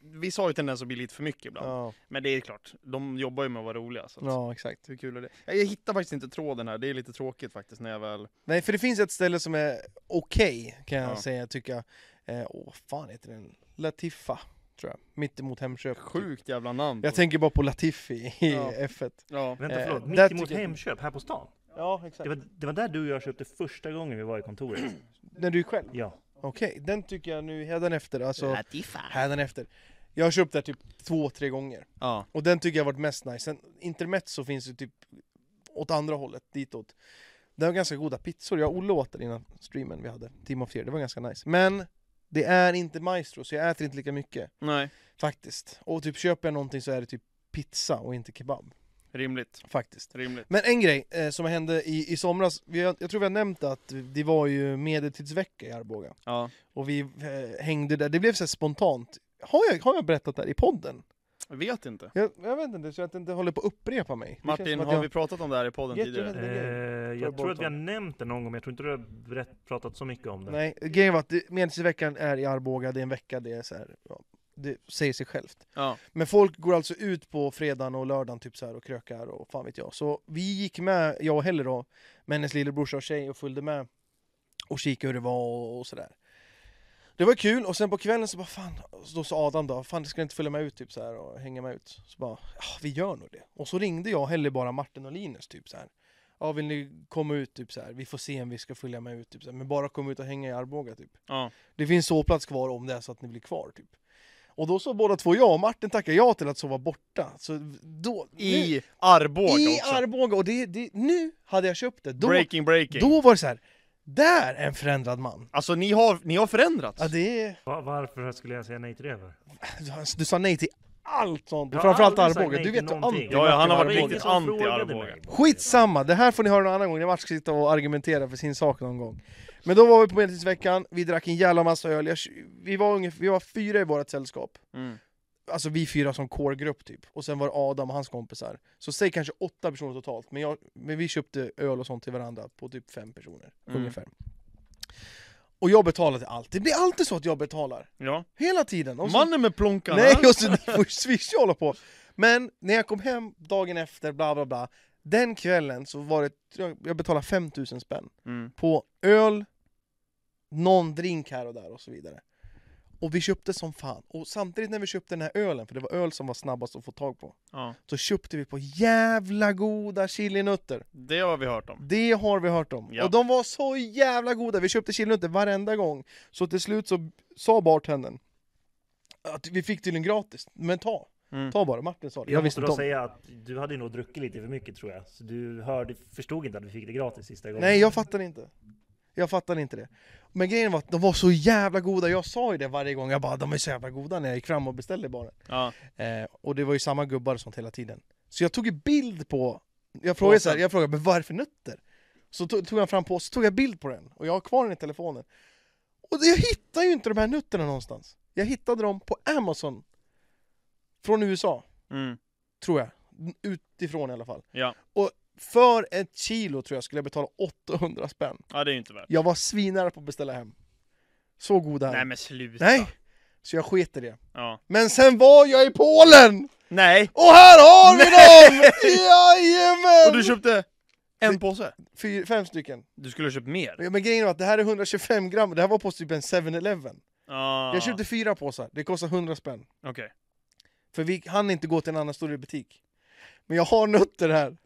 A: Vissa har ju tendens att bli lite för mycket ibland
B: ja.
A: Men det är klart, de jobbar ju med att vara roliga så att...
B: ja, exakt.
A: Hur kul är det? Jag hittar faktiskt inte tråden här, det är lite tråkigt faktiskt när jag väl...
B: Nej, för det finns ett ställe som är okej, kan jag
A: Ja.
B: säga, tycka. Eh, åh, fan heter den? Latifa, tror jag. Mitt emot Hemköp. Typ.
A: Sjukt jävla namn! på-
B: Jag tänker bara på Latifi i
A: Ja.
B: F1.
A: Ja.
D: Vänta,
B: Eh,
D: förlåt.
B: där
D: Mitt
B: tycker
D: emot
B: jag-
D: Hemköp här på stan.
B: Ja, exakt.
D: Det var, det var där du och jag köpte första gången vi var i kontoret.
B: När du är själv?
D: Ja.
B: Okej, den tycker jag nu hädanefter, alltså... Latifa. Hädanefter. Jag har köpt där typ två, tre gånger.
A: ja.
B: Och den tycker jag har varit mest nice. Sen intermezzo finns ju typ åt andra hållet, ditåt. Det var ganska goda pizzor. Jag och Olle åt den innan streamen vi hade, Team of the Year. Det var ganska nice. Men det är inte maestro, så jag äter inte lika mycket
A: Nej,
B: faktiskt. Och typ köper jag någonting så är det typ pizza och inte kebab
A: rimligt.
B: faktiskt.
A: Rimligt.
B: Men en grej eh, som hände i, i somras, vi, har- jag tror vi har nämnt att det var ju medeltidsvecka i Arboga.
A: Ja.
B: Och vi eh, hängde där, det blev så här spontant. Har jag, har jag berättat det här i podden?
A: Jag vet inte.
B: Jag, jag vet inte, så jag inte håller på att upprepa mig. Det känns
A: Martin,
B: som att
A: har
B: jag-
A: vi pratat om det här i podden
B: Jätte-
A: tidigare?
B: Det
D: Eh,
B: är
D: jag tror att vi har nämnt det någon gång, men jag tror inte du har berätt, pratat så mycket om det.
B: Nej, grejen var att det- Medeltidsveckan är i Arboga, det är en vecka, det är så här, ja, det säger sig självt.
A: Ja.
B: Men folk går alltså ut på fredagen och lördagen typ så här och krökar och fan vet jag. Så vi gick med, jag och Helle då, med hennes lillebrorsa och tjej och följde med och kikade hur det var och, och sådär. Det var kul och sen på kvällen så bara fan, så då sa Adam då, fan ska du inte följa med ut typ så här och hänga med ut? Så bara, ja vi gör nog det. Och så ringde jag och Helle bara Martin och Linus typ så här. Ja vill ni komma ut typ så här, vi får se om vi ska följa med ut typ så här. men bara kom ut och hänga i Arboga typ.
A: Ja.
B: Det finns sovplats kvar om det är så att ni blir kvar typ. Och då sa båda två ja, och Martin tackade ja till att sova borta. Så då,
A: I
B: nu,
A: Arboga
B: i
A: också.
B: Arboga! Och det, det, nu hade jag köpt det. Då,
A: breaking, breaking.
B: då var det så här. Där en förändrad man!
A: Alltså ni har, ni har förändrats!
B: Ja, det är...
D: Va- Varför skulle jag säga nej till det? för?
B: Du sa nej till allt sånt!
D: Jag har
B: Framförallt
D: aldrig sagt
B: Arboga,
D: nej
B: du
D: till
B: vet ju
D: någonting.
B: allt!
A: Ja, ja, han har
D: Det
A: varit
D: var ingen
A: riktigt
D: som
A: anti
D: frågade
A: Arboga.
D: mig.
B: Skitsamma, det här får ni höra någon annan gång när Mats ska sitta och argumentera för sin sak någon gång. Men då var vi på Medeltidsveckan, vi drack en jävla massa öl, jag, vi, var ungefär, vi var fyra i vårt sällskap.
A: Mm.
B: Alltså vi fyra som core-grupp typ, och sen var det Adam och hans kompisar. Så säg kanske åtta personer totalt, men, jag, men vi köpte öl och sånt till varandra på typ fem personer,
A: Mm.
B: ungefär. Och jag betalade alltid, det blir alltid så att jag betalar.
A: Ja.
B: Hela tiden! Och så-
A: Mannen med plånkarna!
B: Nej, och så ni får ju swisha och hålla på. Men när jag kom hem dagen efter, bla bla bla. Den kvällen så var det, jag jag betalade 5000 spänn
A: Mm.
B: på öl, någon drink här och där och så vidare. Och vi köpte som fan. Och samtidigt när vi köpte den här ölen, för det var öl som var snabbast att få tag på,
A: Ja,
B: så köpte vi på jävla goda chilinötter.
A: det har vi hört om.
B: Det har vi hört om.
A: Ja.
B: Och de var så jävla goda, vi köpte chilinötter varenda gång. Så till slut så sa bartendern att vi fick tydligen gratis, men ta.
A: Mm.
B: Ta bara, Martin sa det. Jag,
D: Jag måste
B: visste
D: då
B: inte om.
D: säga att du hade ju nog druckit lite för mycket tror jag. Så du hörde, förstod inte att vi fick det gratis sista gången.
B: Nej, jag fattade inte. Jag fattade inte det. Men grejen var att de var så jävla goda, jag sa ju det varje gång, jag bara de är så jävla goda när jag gick fram och beställde bara.
A: Ja.
B: Eh, och det var ju samma gubbar och sånt hela tiden. Så jag tog ju bild på, jag frågade, så här, jag frågade men vad är det för nötter? Så tog, tog jag fram påsen, så tog jag bild på den och jag har kvar den i telefonen. Och det- jag hittar ju inte de här nötterna någonstans. Jag hittade dem på Amazon. Från USA,
A: Mm.
B: tror jag. Utifrån i alla fall.
A: Ja.
B: Och för ett kilo tror jag skulle jag betala 800 spänn.
A: ja, det är ju inte värt.
B: Jag var svinare på att beställa hem. Så goda
A: Nej
B: här.
A: men sluta!
B: Nej! Så jag sket i det.
A: Ja.
B: Men sen var jag i Polen!
A: Nej!
B: Och här har vi dem! Jajamän!
A: Och du köpte en påse?
B: Fyra, fem stycken.
A: Du skulle ha köpt mer?
B: Men grejen var att det här är 125 gram, det här var på typ en 7-Eleven.
A: Ah.
B: Jag köpte fyra påsar, det kostar 100 spänn.
A: Okej.
B: För vi hann inte gå till en annan större butik. Men jag har nötter här,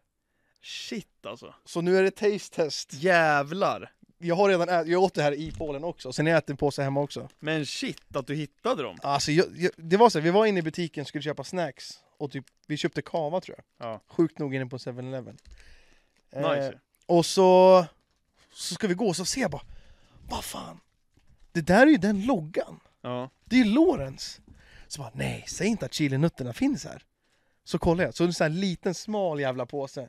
A: Shit alltså.
B: så nu är det taste test.
A: Jävlar!
B: Jag har redan ätit, jag åt det här i Polen också, sen har jag ätit en påse hemma också.
A: Men shit att du hittade dem.
B: Alltså, jag, jag, det var så här, vi var inne i butiken skulle köpa snacks och typ, vi köpte kava tror jag.
A: Ja.
B: Sjukt nog inne på 7-Eleven.
A: Nice.
B: och så, så ska vi gå och så ser jag bara, vad fan, det där är ju den loggan.
A: Ja.
B: Det är ju Lorentz. Så bara, nej, säg inte att chilinötterna finns här. Så kollar jag, så en sån här liten smal jävla påse.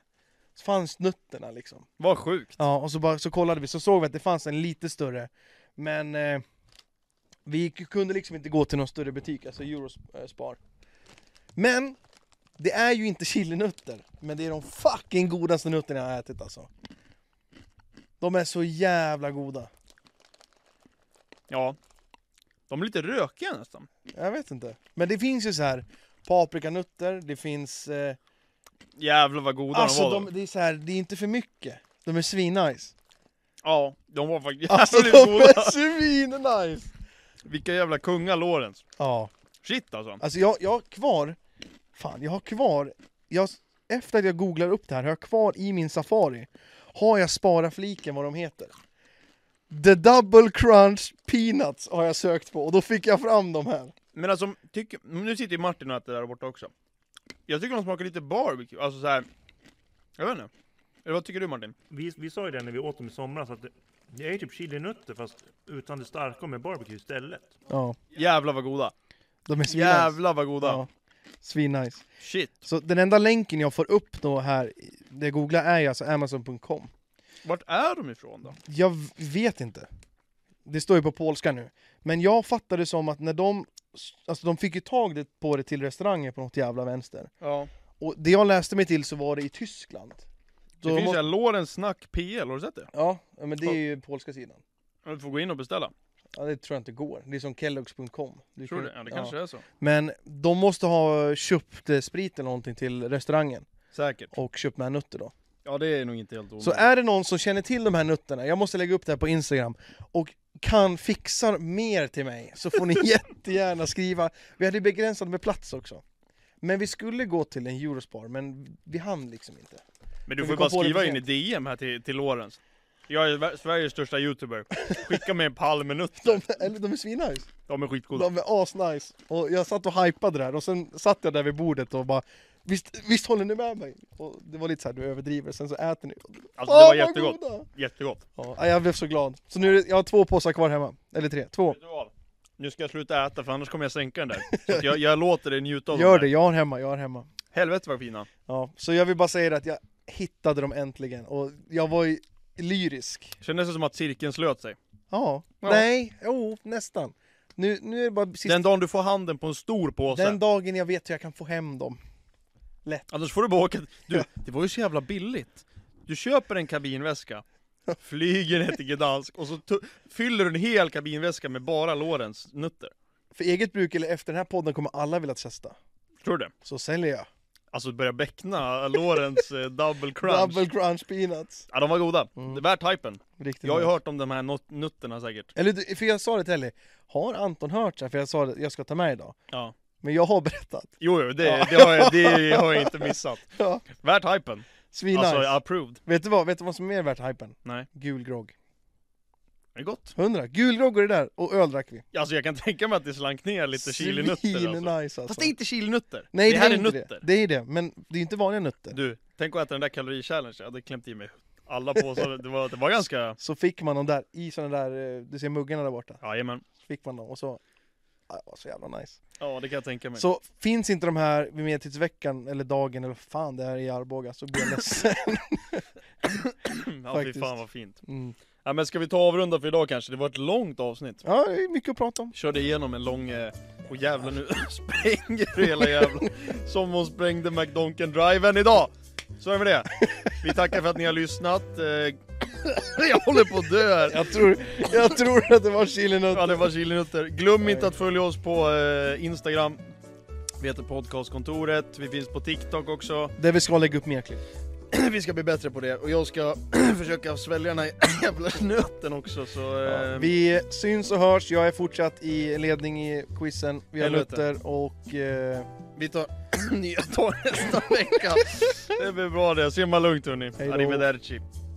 B: Så fanns nötterna liksom.
A: Vad sjukt.
B: Ja, och så, bara, så kollade vi, så såg vi att det fanns en lite större. Men eh, vi gick- kunde liksom inte gå till någon större butik, alltså Eurospar. Men det är ju inte chilinötter, men det är de fucking godaste nötterna jag har ätit alltså. De är så jävla goda.
A: Ja. De är lite rökiga nästan.
B: Jag vet inte. Men det finns ju så här paprikanötter, det finns... Eh,
A: Jävlar vad goda
B: alltså
A: de var.
B: de, det är så här, det är inte för mycket. De är svinnice.
A: Ja, de var faktiskt
B: Alltså de
A: jävligt goda.
B: är svinnice!
A: Vilka jävla kungar Lorentz.
B: Ja.
A: Shit alltså.
B: Alltså jag, jag har kvar, fan jag har kvar, jag, efter att jag googlar upp det här, har jag kvar i min Safari, har jag spara fliken vad de heter. The Double Crunch Peanuts har jag sökt på och då fick jag fram de här.
A: Men alltså, tyck, nu sitter ju Martin och äter där borta också. Jag tycker de smakar lite barbecue, alltså så här. Jag vet inte. Eller vad tycker du Martin?
D: Vi, vi sa ju det när vi åt dem i somras att det, det är ju typ chilinötter fast utan det starka och med barbecue istället.
B: Ja,
A: Jävlar vad goda.
B: de är svinnice.
A: Jävlar vad goda.
B: Ja, svinnice.
A: Shit.
B: Så den enda länken jag får upp då här, det jag googlar är ju alltså amazon.com.
A: Vart är de ifrån då?
B: Jag v- vet inte. Det står ju på polska nu. Men jag fattade som att när de... Alltså de fick ju tag det- på det till restauranger på något jävla vänster.
A: Ja.
B: Och det jag läste mig till så var det i Tyskland.
A: Det
B: Så
A: finns
B: må-
A: ju här Lorentz Snack PL, har du sett det?
B: Ja, ja, men det är ju polska sidan.
A: Du får gå in och beställa.
B: Ja, det tror jag inte går. Det är som Kelloggs.com. Du
A: Tror du
B: kan-
A: det? Ja, det kanske är så.
B: Men de måste ha köpt eh, sprit eller någonting till restaurangen
A: Säkert.
B: och köpt med nötter då.
A: Ja, det är nog inte helt
B: Så
A: omöjligt.
B: är det någon som känner till de här nötterna, jag måste lägga upp det här på Instagram och kan fixa mer till mig så får ni jättegärna skriva. Vi hade ju begränsat med plats också. Men vi skulle gå till en Eurospar, men vi hann liksom inte.
A: Men du
B: Men
A: får
B: vi
A: bara
B: kom på det
A: skriva
B: för
A: in i
B: sent.
A: DM här till, till Lorentz. Jag är Ver- Sveriges största youtuber. Skicka mig en pall med nötter.
B: De, eller de är svinnice.
A: De är skitgoda.
B: De är asnice. Och jag satt och hypade det här och sen satt jag där vid bordet och bara Visst, visst håller ni med mig? Och det var lite så här, du överdriver, sen så äter ni.
A: Alltså det
B: Åh,
A: var
B: vad
A: jättegott.
B: goda!
A: Jättegott.
B: Ja, jag blev så glad. Så nu, är det- jag har två påsar kvar hemma. Eller tre, två.
A: Vet du vad? Nu ska jag sluta äta för annars kommer jag sänka den där. Så att jag, jag låter dig njuta av
B: Gör
A: de
B: det,
A: där.
B: jag har hemma, jag har hemma.
A: Helvete vad fina.
B: Ja, så jag vill bara säga det att jag hittade dem äntligen och jag var ju lyrisk.
A: Kändes det som att cirkeln slöt sig?
B: Ja,
A: Ja.
B: nej, jo, nästan. Nu, nu är det bara sista,
A: Den dagen du får handen på en stor påse.
B: den dagen jag vet hur jag kan få hem dem.
A: Annars får du bara åka... Du, det var ju så jävla billigt. Du köper en kabinväska, flyger ner till Gdansk och så tu- fyller du en hel kabinväska med bara Lorens nötter.
B: För eget bruk eller efter den här podden kommer alla vilja testa.
A: Tror du det?
B: Så säljer jag.
A: Alltså börja bäckna Lorens eh, double crunch.
B: Double crunch peanuts.
A: Ja, de var goda.
B: Mm.
A: Det är värt hypen.
B: Riktigt
A: Jag har ju
B: nice.
A: hört om de här not- nutterna säkert.
B: Eller du, för jag sa det till Ellie, har Anton hört så här? För jag sa det, jag ska ta med idag.
A: Ja.
B: Men jag har berättat.
A: Jo, jo, det,
B: Ja.
A: det, har, jag, det har jag inte missat.
B: Ja.
A: Värt hypen.
B: Svinnice.
A: Alltså, approved.
B: Vet du vad, vet du vad som är värt hypen?
A: Nej.
B: Gul grogg.
A: Det är gott.
B: 100, gul grogg och det där, och öl drack vi.
A: Alltså jag kan tänka mig att det slank ner lite chilinötter
B: Svin
A: alltså.
B: nice alltså.
A: Fast det är inte chilinötter.
B: Nej
A: det
B: det,
A: här
B: är,
A: är
B: inte
A: nötter.
B: det. Det är det, men det är inte vanliga nötter.
A: Du, tänk att äta den där kalorichallenge. Jag hade klämt i mig alla påsar. Det var, det var ganska...
B: Så fick man dem där i såna där, eh, du ser muggarna där borta.
A: Jajamän.
B: Så fick man dem och så, ja, det var så jävla nice.
A: Ja, det kan jag tänka mig.
B: Så finns inte de här vid medeltidsveckan eller dagen eller vad fan det är i Arboga så blir jag ledsen.
A: ja, fy
B: faktiskt.
A: fan vad fint.
B: Mm.
A: Ja, men ska vi ta och avrunda för idag kanske? Det var ett långt avsnitt.
B: Ja, det är mycket att prata om.
A: Körde igenom en lång... eh, Och jävlar nu spränger du hela jävla... Som hon sprängde McDonken driven idag! Så är det med det. Vi tackar för att ni har lyssnat. Eh, Jag håller på att dö här.
B: Jag tror, jag tror att det var
A: Ja,
B: chilinötter.
A: det var chilinötter. Glöm inte att följa oss på eh, Instagram. Vi heter Podcastkontoret. Vi finns på TikTok också.
B: Där vi ska lägga upp mer klipp.
A: Vi ska bli bättre på det. Och jag ska försöka svälja den här jävla nöten också. Så, eh,
B: Vi syns och hörs, jag är fortsatt i ledning i quizen. Vi har
A: Helvete.
B: nötter och... Eh,
A: vi tar nya tag nästa vecka. det blir bra det. Simma lugnt hörni.
B: Hej då.
A: Arrivederci.